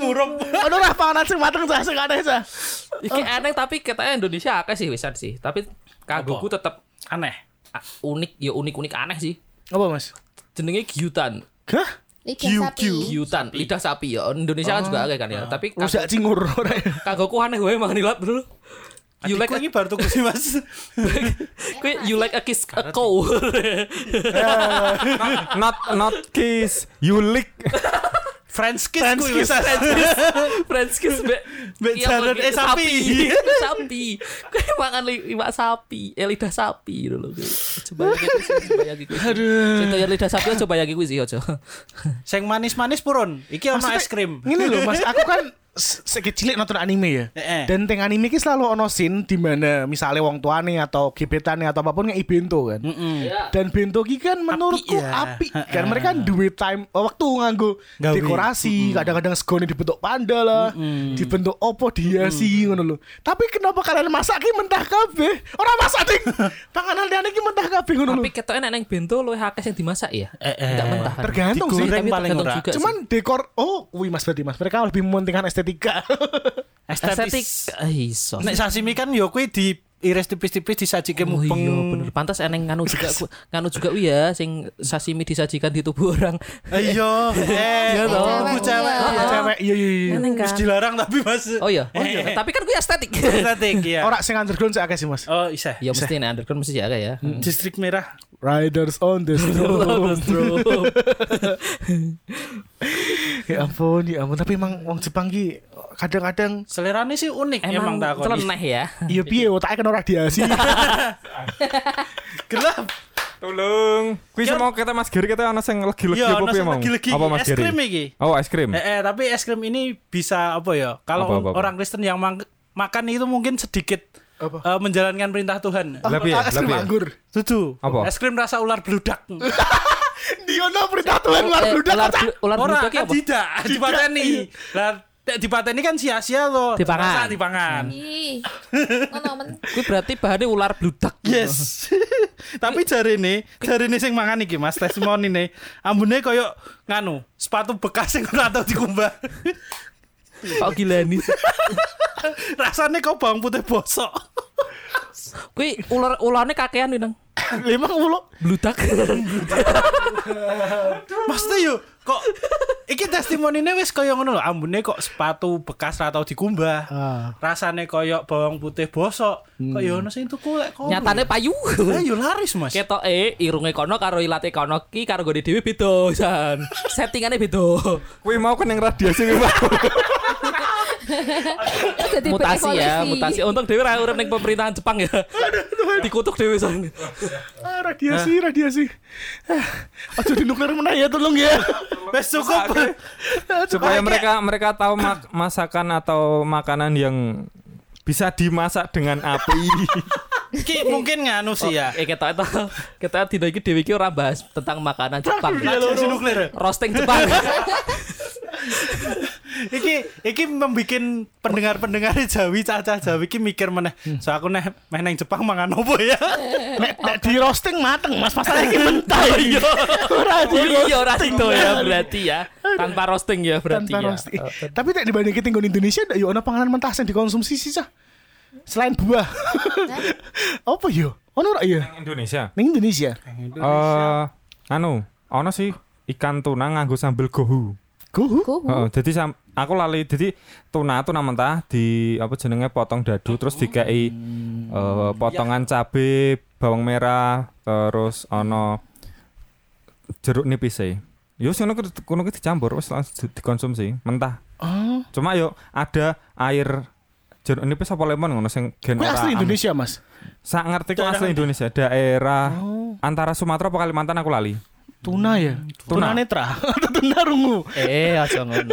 Murup. Aduh lah panganan sing mateng cah sing aneh cah. Iki eneng tapi katanya Indonesia akeh sih wisan sih. Tapi kanggoku tetep Aneh. ah, unik ya unik-unik aneh sih. Apa, Mas? Jenenge gyutan. Hah? Lidah Kiu, sapi. kiu. Gyutan, lidah sapi ya. Oh. Indonesia kan juga akeh kan Ah. ya. Tapi kang- Rusak cingur ora ya? kanggoku aneh wae mangan ilat dulu. You like Adikku ini baru tuku sih mas Kue you like a kiss a cow. not not kiss, you lick. French kiss French kuwi kiss. wis French kiss mbek Mbek iya, jaran- eh, mbek sapi. sapi. sapi. Kowe makan li- iwak sapi, eh lidah sapi ngono lho. Coba bayangin kuwi, coba bayangin kuwi. Sing toyo lidah sapi aja bayangin kuwi sih aja. Sing manis-manis purun. Iki ono Maksudnya, es krim. Ngene lho Mas, aku kan se- sejak cilik nonton anime ya. Eh, eh. Dan teng anime ki selalu ono scene di mana misalnya wong tuane atau gebetane atau apapun ngei bento kan. Mm-mm. Dan bento ki kan menurutku ya. api, kan mereka duwe time oh, waktu nganggo Nggawe. dekorasi, kadang-kadang segone dibentuk panda lah, dibentuk opo dihiasi ngono lho. Tapi kenapa kalian masak ki mentah kabeh? Ora masak ding. Panganan liyane ki mentah kabeh ngono lho. Tapi ketoke nek nang bento luwih akeh sing dimasak ya. Eh, eh. Enggak mentah kan. Tergantung sih. Digoreng Tapi paling tergantung ora. juga sih. Cuman dekor oh, wih Mas berarti Mas, mereka lebih mementingkan estetika. estetik Estetis. eh, iso. Nek sashimi kan yo kuwi diiris tipis-tipis disajike Oh mupeng. iya bener pantas eneng nganu juga ku- nganu juga wi ya sing sashimi disajikan di tubuh orang. Ayo, eh, Iya toh. kuku cewek, Iya. kuku cewek. Cewek iya iya iya. Eneng Terus kan. dilarang tapi Mas. Eh, Oh iya, oh iya. Tapi kan gue estetik. Estetik ya. Ora sing underground sih akeh sih Mas. Oh, iseh. Ya mesti nih underground mesti jaga ya. Distrik merah. Riders on the Terus, storm. bro. ya ampun, ya ampun. Tapi emang wong Jepang ki kadang-kadang Selerane sih unik emang, Emang takon. teleneh ya. iya piye otaknya kan ora diasi. Gelap. Tolong. Kuwi Kan- mau kita Mas Giri kita ana sing legi-legi Iya, apa ana piye sing mau? legi-legi. Apa Mas Es Giri? krim iki. Oh, es krim. Eh, eh, tapi es krim ini bisa apa ya? Kalau Apa, apa, apa? orang Kristen yang mang- makan itu mungkin sedikit Apa? eh, menjalankan perintah Tuhan. Lah piye? Es Lah krim piye? anggur. Tutu. Apa? Es krim rasa ular beludak. Diono Iya, perintah Tuhan luar Eh, bludak ular kocak. blu- ular Ora bludak ki kan apa? tidak dipateni. Lah nek dipateni kan sia-sia loh. Dipangan. Rasa dipangan. Ih. Ngono men. Kuwi berarti bahannya ular bludak. Yes. Tapi jari ini, jari ini sing mangan iki mas testimoni nih. Ambune koyo nganu sepatu bekas sing ora tau dikumbah. Kok gila nih. Rasanya kau bawang putih bosok. Kuwi ular ularnya kakean nih nang Emang ulo bludak. Maksudnya yo kok iki testimoninya wis koyo ngono lho. Ambune kok sepatu bekas ora tau dikumbah. Ah. Rasane koyo bawang putih bosok. Kok yo ono sing tuku lek kono. Nyatane payu. Lah, yo laris mas. Ketok e irunge kono karo ilate kono ki karo gede dhewe beda san. Settingane beda. Kuwi mau kena radiasi kuwi. Pak. Jadi Mutasi ya, berevolusi. mutasi. Untung dhewe ra urip ning pemerintahan Jepang ya. Dikutuk dhewe san. Ah, radiasi, radiasi. Ah, Aduh di nuklir meneh ya tolong ya. Wes cukup. supaya mereka mereka tahu mak- masakan atau makanan yang bisa dimasak dengan api. Iki mungkin nganu sih ya. Eh ketok itu ketok dina iki dhewe iki ora bahas tentang makanan Jepang. Iya, Radiasi nuklir. Roasting Jepang. iki iki membikin pendengar-pendengar Jawi cacah Jawi iki mikir meneh. So aku neh meh nang Jepang mangan opo ya? Nek nek di roasting mateng Mas, masalahnya iki mentah iki. iya. Ora di iya. Oh iya ora roasting. itu ya berarti ya. Tanpa roasting ya berarti tanpa ya. roasting. Tapi nek dibandingin tinggal Indonesia, ndak yo ono panganan mentah sing dikonsumsi sih Cah. Selain buah. Apa yo? Ono ora ya? Indonesia. Ning Indonesia. Eh, anu, ono sih ikan tuna nganggo sambel gohu. Kuhu. Kuhu. Heeh, jadi sam- aku lali jadi tuna tuna mentah di apa jenenge potong dadu Oh, terus iya. dikei eh, potongan cabe, bawang merah, terus ono jeruk nipis e. Yo sing ngono ku- ngono ku dicampur wis langsung di- dikonsumsi mentah. Oh. Cuma yo ada air jeruk nipis apa lemon ngono sing gen Kuwi ora asli am- Indonesia, Mas. Sak ngerti ku asli Indonesia, daerah Oh. antara Sumatera apa Kalimantan aku lali. Tuna ya. Tuna, Tuna. netra atau tuna rungu. Eh aja ngono.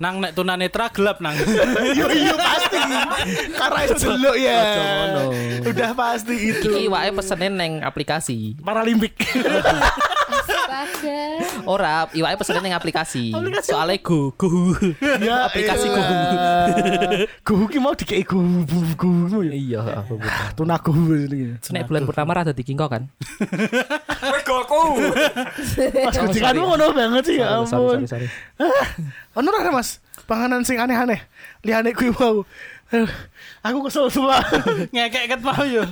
Nang nek tunanetra gelap nang. Yo yo pasti. Karena jeluk ya. Ojo ngono. Udah pasti Iki itu. iwake pesene neng aplikasi. Paralimpik. Astaga. Ora, iwake pesene neng aplikasi. Soale go go. ya, Aplikasi kuhu. Kuhu ki mau dikei kuhu kuhu- kuhu ya. Iya, aku bener. Ah, Tuna kuhu jenenge. Nek bulan purnama rada dikingko kan. Goku. Mas Oh, kucikanmu sorry. ngono banget sih ya Sorry, sorry, ampun. sorry, sorry. Ah, Ono ora Mas? Panganan sing aneh-aneh. Liyane kuwi mau. Eh, Aku kesel semua. Ngekek ket mau yo.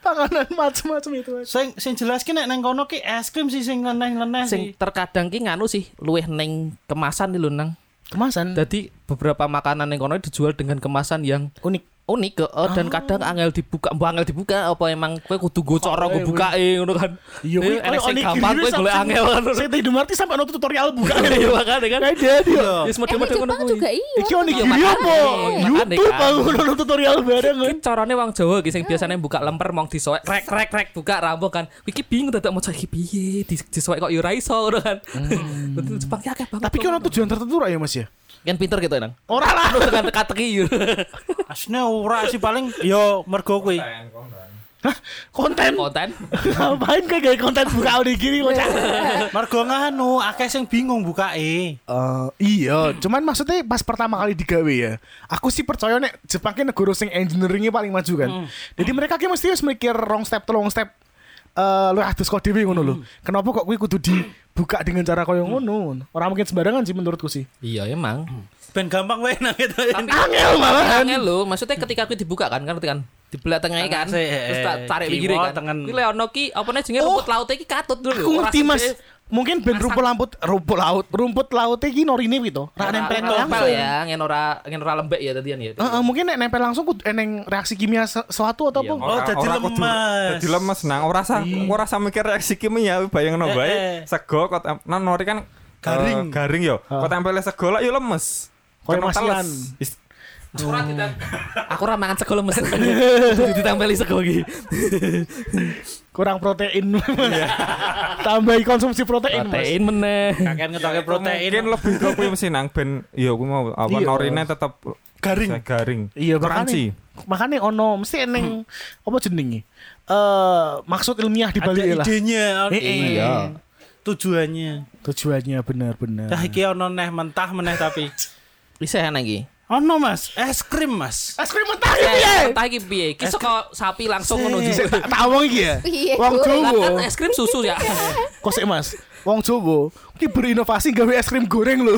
Panganan macam-macam itu. Mas. Sing sing jelas ki nek nang kono ki es krim sih sing leneh-leneh sih. Sing terkadang ki nganu sih, luweh neng kemasan nih lho nang. Kemasan Hmm. Jadi beberapa makanan neng kono dijual dengan kemasan yang unik. unik eh, eh, dan kadang angel dibuka mbok angel dibuka apa emang kowe kudu go cara go bukae ngono kan Iya, Eh, kuwi enek sing onigiri gampang kowe sampe- golek angel kan Saya tadi Marti sampai nonton tutorial buka. iya makane kan Ada dia. Eh, wis di mode-mode ngono Jepang kuwi juga iya. Iki onigiri Iya, kan. apa? makane, YouTube makane, aku nonton tutorial bareng. Kan carane wong Jawa iki sing biasane buka lemper mong disoek rek rek rek buka rampung kan. Iki bingung dadak mau iki piye Di- disoek kok yo ora iso ngono kan. Betul Jepang ya akeh banget. Tapi kan tuh tujuan tertentu ra ya Mas ya? kan pinter gitu nang. Ora lah. Anu tekan teka-teki yo. Aslinya ora sih paling yo mergo kuwi. Hah? Konten. Konten. Ngapain kayak gaya konten buka onigiri kocak. Mergo nganu akeh sing bingung bukae. Eh, iya, cuman maksudnya pas pertama kali digawe ya. Aku sih percaya nek Jepang ki negara sing engineeringnya paling maju kan. Jadi mereka ki mesti harus mikir rong step telung step eh lu adus kok dhewe ngono lho. Kenapa kok kuwi kudu dibuka dengan cara koyo ngono? Ora mungkin sembarangan sih menurutku sih. Iya emang. Ben gampang wae nang gitu. Angel malahan. Angel lho, ya, maksudnya ketika aku dibuka kan kan ngerti kan dibelah tengahnya kan. Tengah sih, eh, Terus tak tarik kiwa, kiri kan. tengen. Ki Leono ki apa nih jenenge rumput laut iki katut dulu. Aku ngerti Ora Mas. sede- Mungkin ben rumput laut, rumput laut, rumput laut iki norine kuwi to. Ra ora- nempel ora nempel langsung. ya, ngen ora ngen ora lembek ya tadian ya. Heeh, mungkin nek nempel langsung kudu eneng reaksi kimia se- sesuatu atau Iya, apa? Oh, jadi Ora kudu- lemes. Jadi lemes nang ora usah ora usah mikir reaksi ya, kimia bayangno Eh, bae. eh. Sego kok tem- nang nori kan Garing. eh, garing yo. Kok tempele sego lah yo lemes. Kayak Kena teles. Ah. masian. Is- Ora kita. Aku ora mangan sego lemes. Ditempeli sego iki. kurang protein Iya. tambahi konsumsi protein, Protein meneh. Kakek ngetoke Mungkin protein. lebih ke kuwi mesti nang ben yo aku mau apa Iya. norine tetep Garing. garing. mas iya Crunchy. makanya makanya ono mesti eneng apa jenenge eh maksud ilmiah di Hmm. Ada balik lah idenya, Eh, eh. Iya. Tujuannya. tujuannya benar-benar Dah iki ono neh mentah meneh tapi. Bisa enak iki. Ono Mas, Iya. es krim Mas. es krim mentah iki ya Eh, Entah iki piye. Iki saka sapi langsung ngono Sih. dhisik. tak awang iki ya Iya, wong gue. Jawa Kan es krim susu ya. kok sik Mas wong Jawa iki berinovasi gawe es krim goreng lho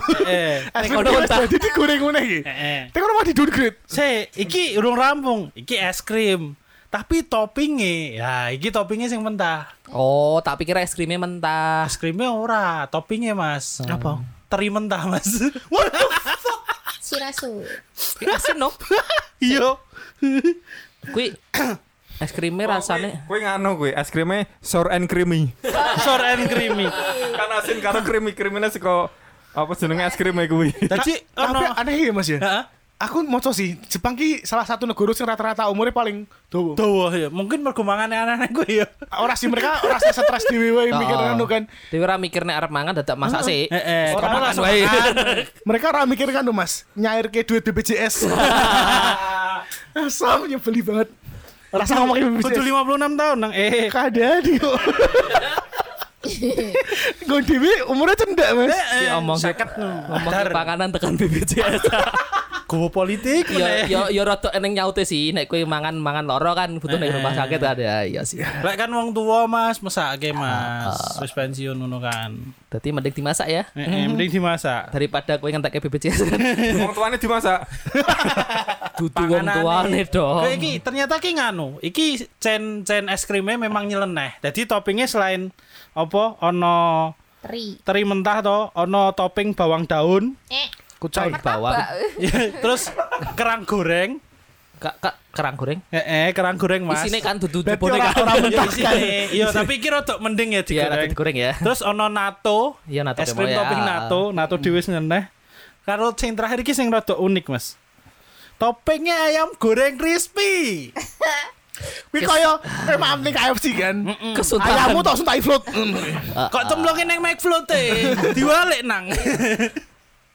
es Eh, krim Tengok goreng mentah. jadi digoreng ngene iki eh. Tengok malah di downgrade Se, iki urung rampung. Iki es krim. Tapi toppingnya, ya iki toppingnya sing mentah. Oh, tak pikir es krimnya mentah. Es krimnya ora, toppingnya Mas. Apa? Teri mentah Mas. What the fuck? Shirasu. Asin no. Iya. Kui es krimnya rasanya Kuwi nganu kuwi es krimnya sour and creamy. Sour and creamy. kan asin karo creamy-creamine saka apa jenenge es krim kuwi. Tadi Ta- tapi ono aneh ya Mas ya Heeh. aku moco sih Jepang ki salah satu negara sing rata-rata umurnya paling dawa Dawa ya, mungkin perkembangannya aneh-aneh gue ya. Orang sih mereka orang sih stres dewe wae Oh. mikir anu kan. Dewi ora mikir nek arep mangan dadak masak sih. Eh, eh, Sekon orang makan langsung wae. Mereka orang mikir kan tuh Mas, nyair ke duit BPJS. Asam nyebeli banget. Rasa ngomong Kudu BPJS. 56 tahun nang eh. Kada di. Gue dewe umurnya cendak Mas. Ki omong seket ngomong Dar. panganan tekan BPJS. Gowo politik Yo meneh. yo yo rada eneng nyaute sih nek kowe mangan mangan loro kan butuh ning rumah sakit ada ya sih. Lek kan wong tua Mas, mesake Mas. Wis pensiun ngono kan. Dadi mending dimasak ya Eh, eh, mending dimasak. daripada kowe ngentek BPJS kan. Wong tuane dimasak. Dudu wong Panganane. Kayak tuane dong. iki ternyata ki nganu. Iki cen cen es krimnya memang nyeleneh. Jadi toppingnya selain apa ono Tri. teri mentah to, ono topping bawang daun, Eh, Kucai martabak. eh. bawang. terus kerang goreng. Kak kak kerang goreng. Eh, eh, kerang goreng Mas. Isine kan dudu Berarti boneka. orang-orang Iya, mentah kan. isine. Iya, tapi iki rada mending ya Iya, rada digoreng. digoreng ya. Terus ono nato, Iya, nato es krim kemoy, ya. topping nato, nato dhewe sing nyeneh. Karo sing terakhir iki sing rada unik, Mas. Toppingnya ayam goreng crispy. Kuwi eh, koyo emang ning KFC kan. Mm. Kesuntahan. Ayammu tok suntai Mm. float. Kok cemplungin neng McFloat e? Diwalik nang.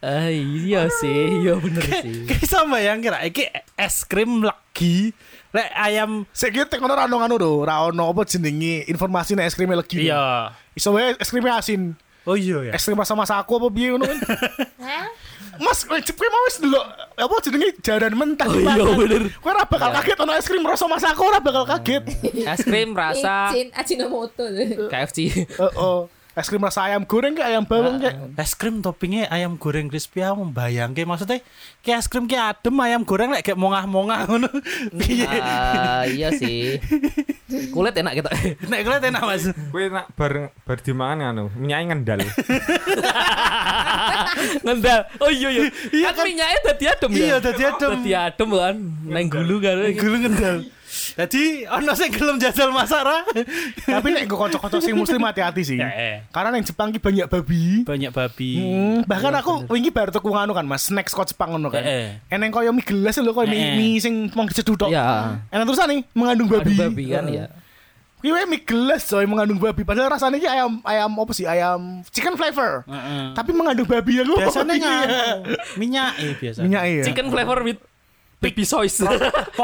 Eh iya sih, iya bener sih. Kayak sama yang kira iki es krim lagi. Lek ayam Saya kira tekono ra ono anu do, ra ono apa jenenge informasi nek es krimnya legi. Iya. Iso wae es krimnya asin. Oh iya ya. Es krim rasa-masa aku apa biye ngono kan. Hah? Mas, kowe kowe mau wis delok apa jenenge jaran mentah. Oh iya, Ya. dimakan. bener. Kowe ora bakal kaget ono es krim rasa mas aku ora bakal kaget. Es krim rasa Izin Ajinomoto. KFC. Heeh. Eh, oh, es krim rasa ayam goreng kayak ayam bawang kayak es krim toppingnya ayam goreng crispy aku membayangke maksudnya kayak es krim kayak adem ayam goreng lek kayak mongah-mongah ngono. Piye? Ah, iya sih. Kulit enak gitu. Nek kulit enak Mas. Gue nak bar bar dimangan anu, minyaknya ngendal. Ngendal. Oh iya iya. Iya, kan, kan. minyaknya tadi adem ya. Iya, dadi adem. Tadi adem kan. Neng gulu kan. Gulu ngendal. Jadi ono sing gelem jajal masak ra? Ah. tapi nek gue kocok-kocok sing muslim hati-hati Ya, sih Eh, eh. karena yang Jepang ki banyak babi Banyak babi. Hmm, Iya, bahkan aku wingi baru tuku anu kan Mas, snack saka Jepang ngono kan. Eh, Eneng koyo mie gelas lho koyo mie, Eh. mie sing mau dicedutok. Iya. Enak terusan nih mengandung babi. Aduh babi kan ya. Kuwi wae mie gelas coy mengandung babi padahal rasanya ki ayam ayam apa sih? Ayam chicken flavor. Heeh. Tapi mengandung babi aku. Biasanya Iya. kan minyak eh biasanya. minyak iya. Chicken flavor with baby sauce.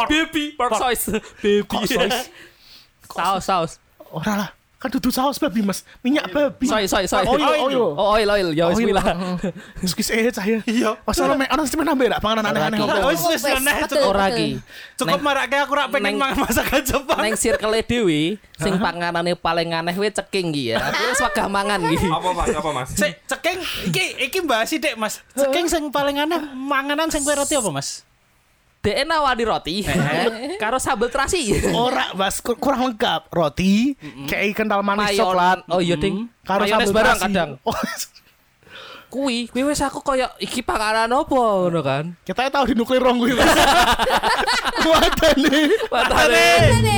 Baby pork sauce. Baby sauce. Saus saus. Ora lah. Kan dudu saus babi Mas. Minyak babi. Soy soy Ah, soy. Oil oil. Oh, oil oil ya wis Oil. lah. Excuse eh cahaya. Iya. Pas ono mek ono sing nambah ra panganan aneh-aneh. Ora, apa. Wis wis Wes, meneh, betul, cukup. Ora betul. ki. Cukup Neng- marake aku ora pengen Neng- mangan masakan Jepang. Neng circle dhewe sing panganane paling aneh we ceking ki ya. Aku wis wagah mangan ki. Apa mas? Apa mas? Sik, ceking iki iki bahas sih, Dek, Mas. Ceking sing paling aneh manganan sing kue roti apa, Mas? Dek nawani roti karo sambel terasi. Ora Mas kur- kurang lengkap. Roti, kayak kental manis Mayon- coklat. Oh iya ding. Karo Mayones sambal barang terasi. kadang. Oh, Kui, kui wis aku koyo iki panganan apa ngono kan. ya, Kita tahu di nuklir rong gue mas. Kuatan nih. Matane. Ada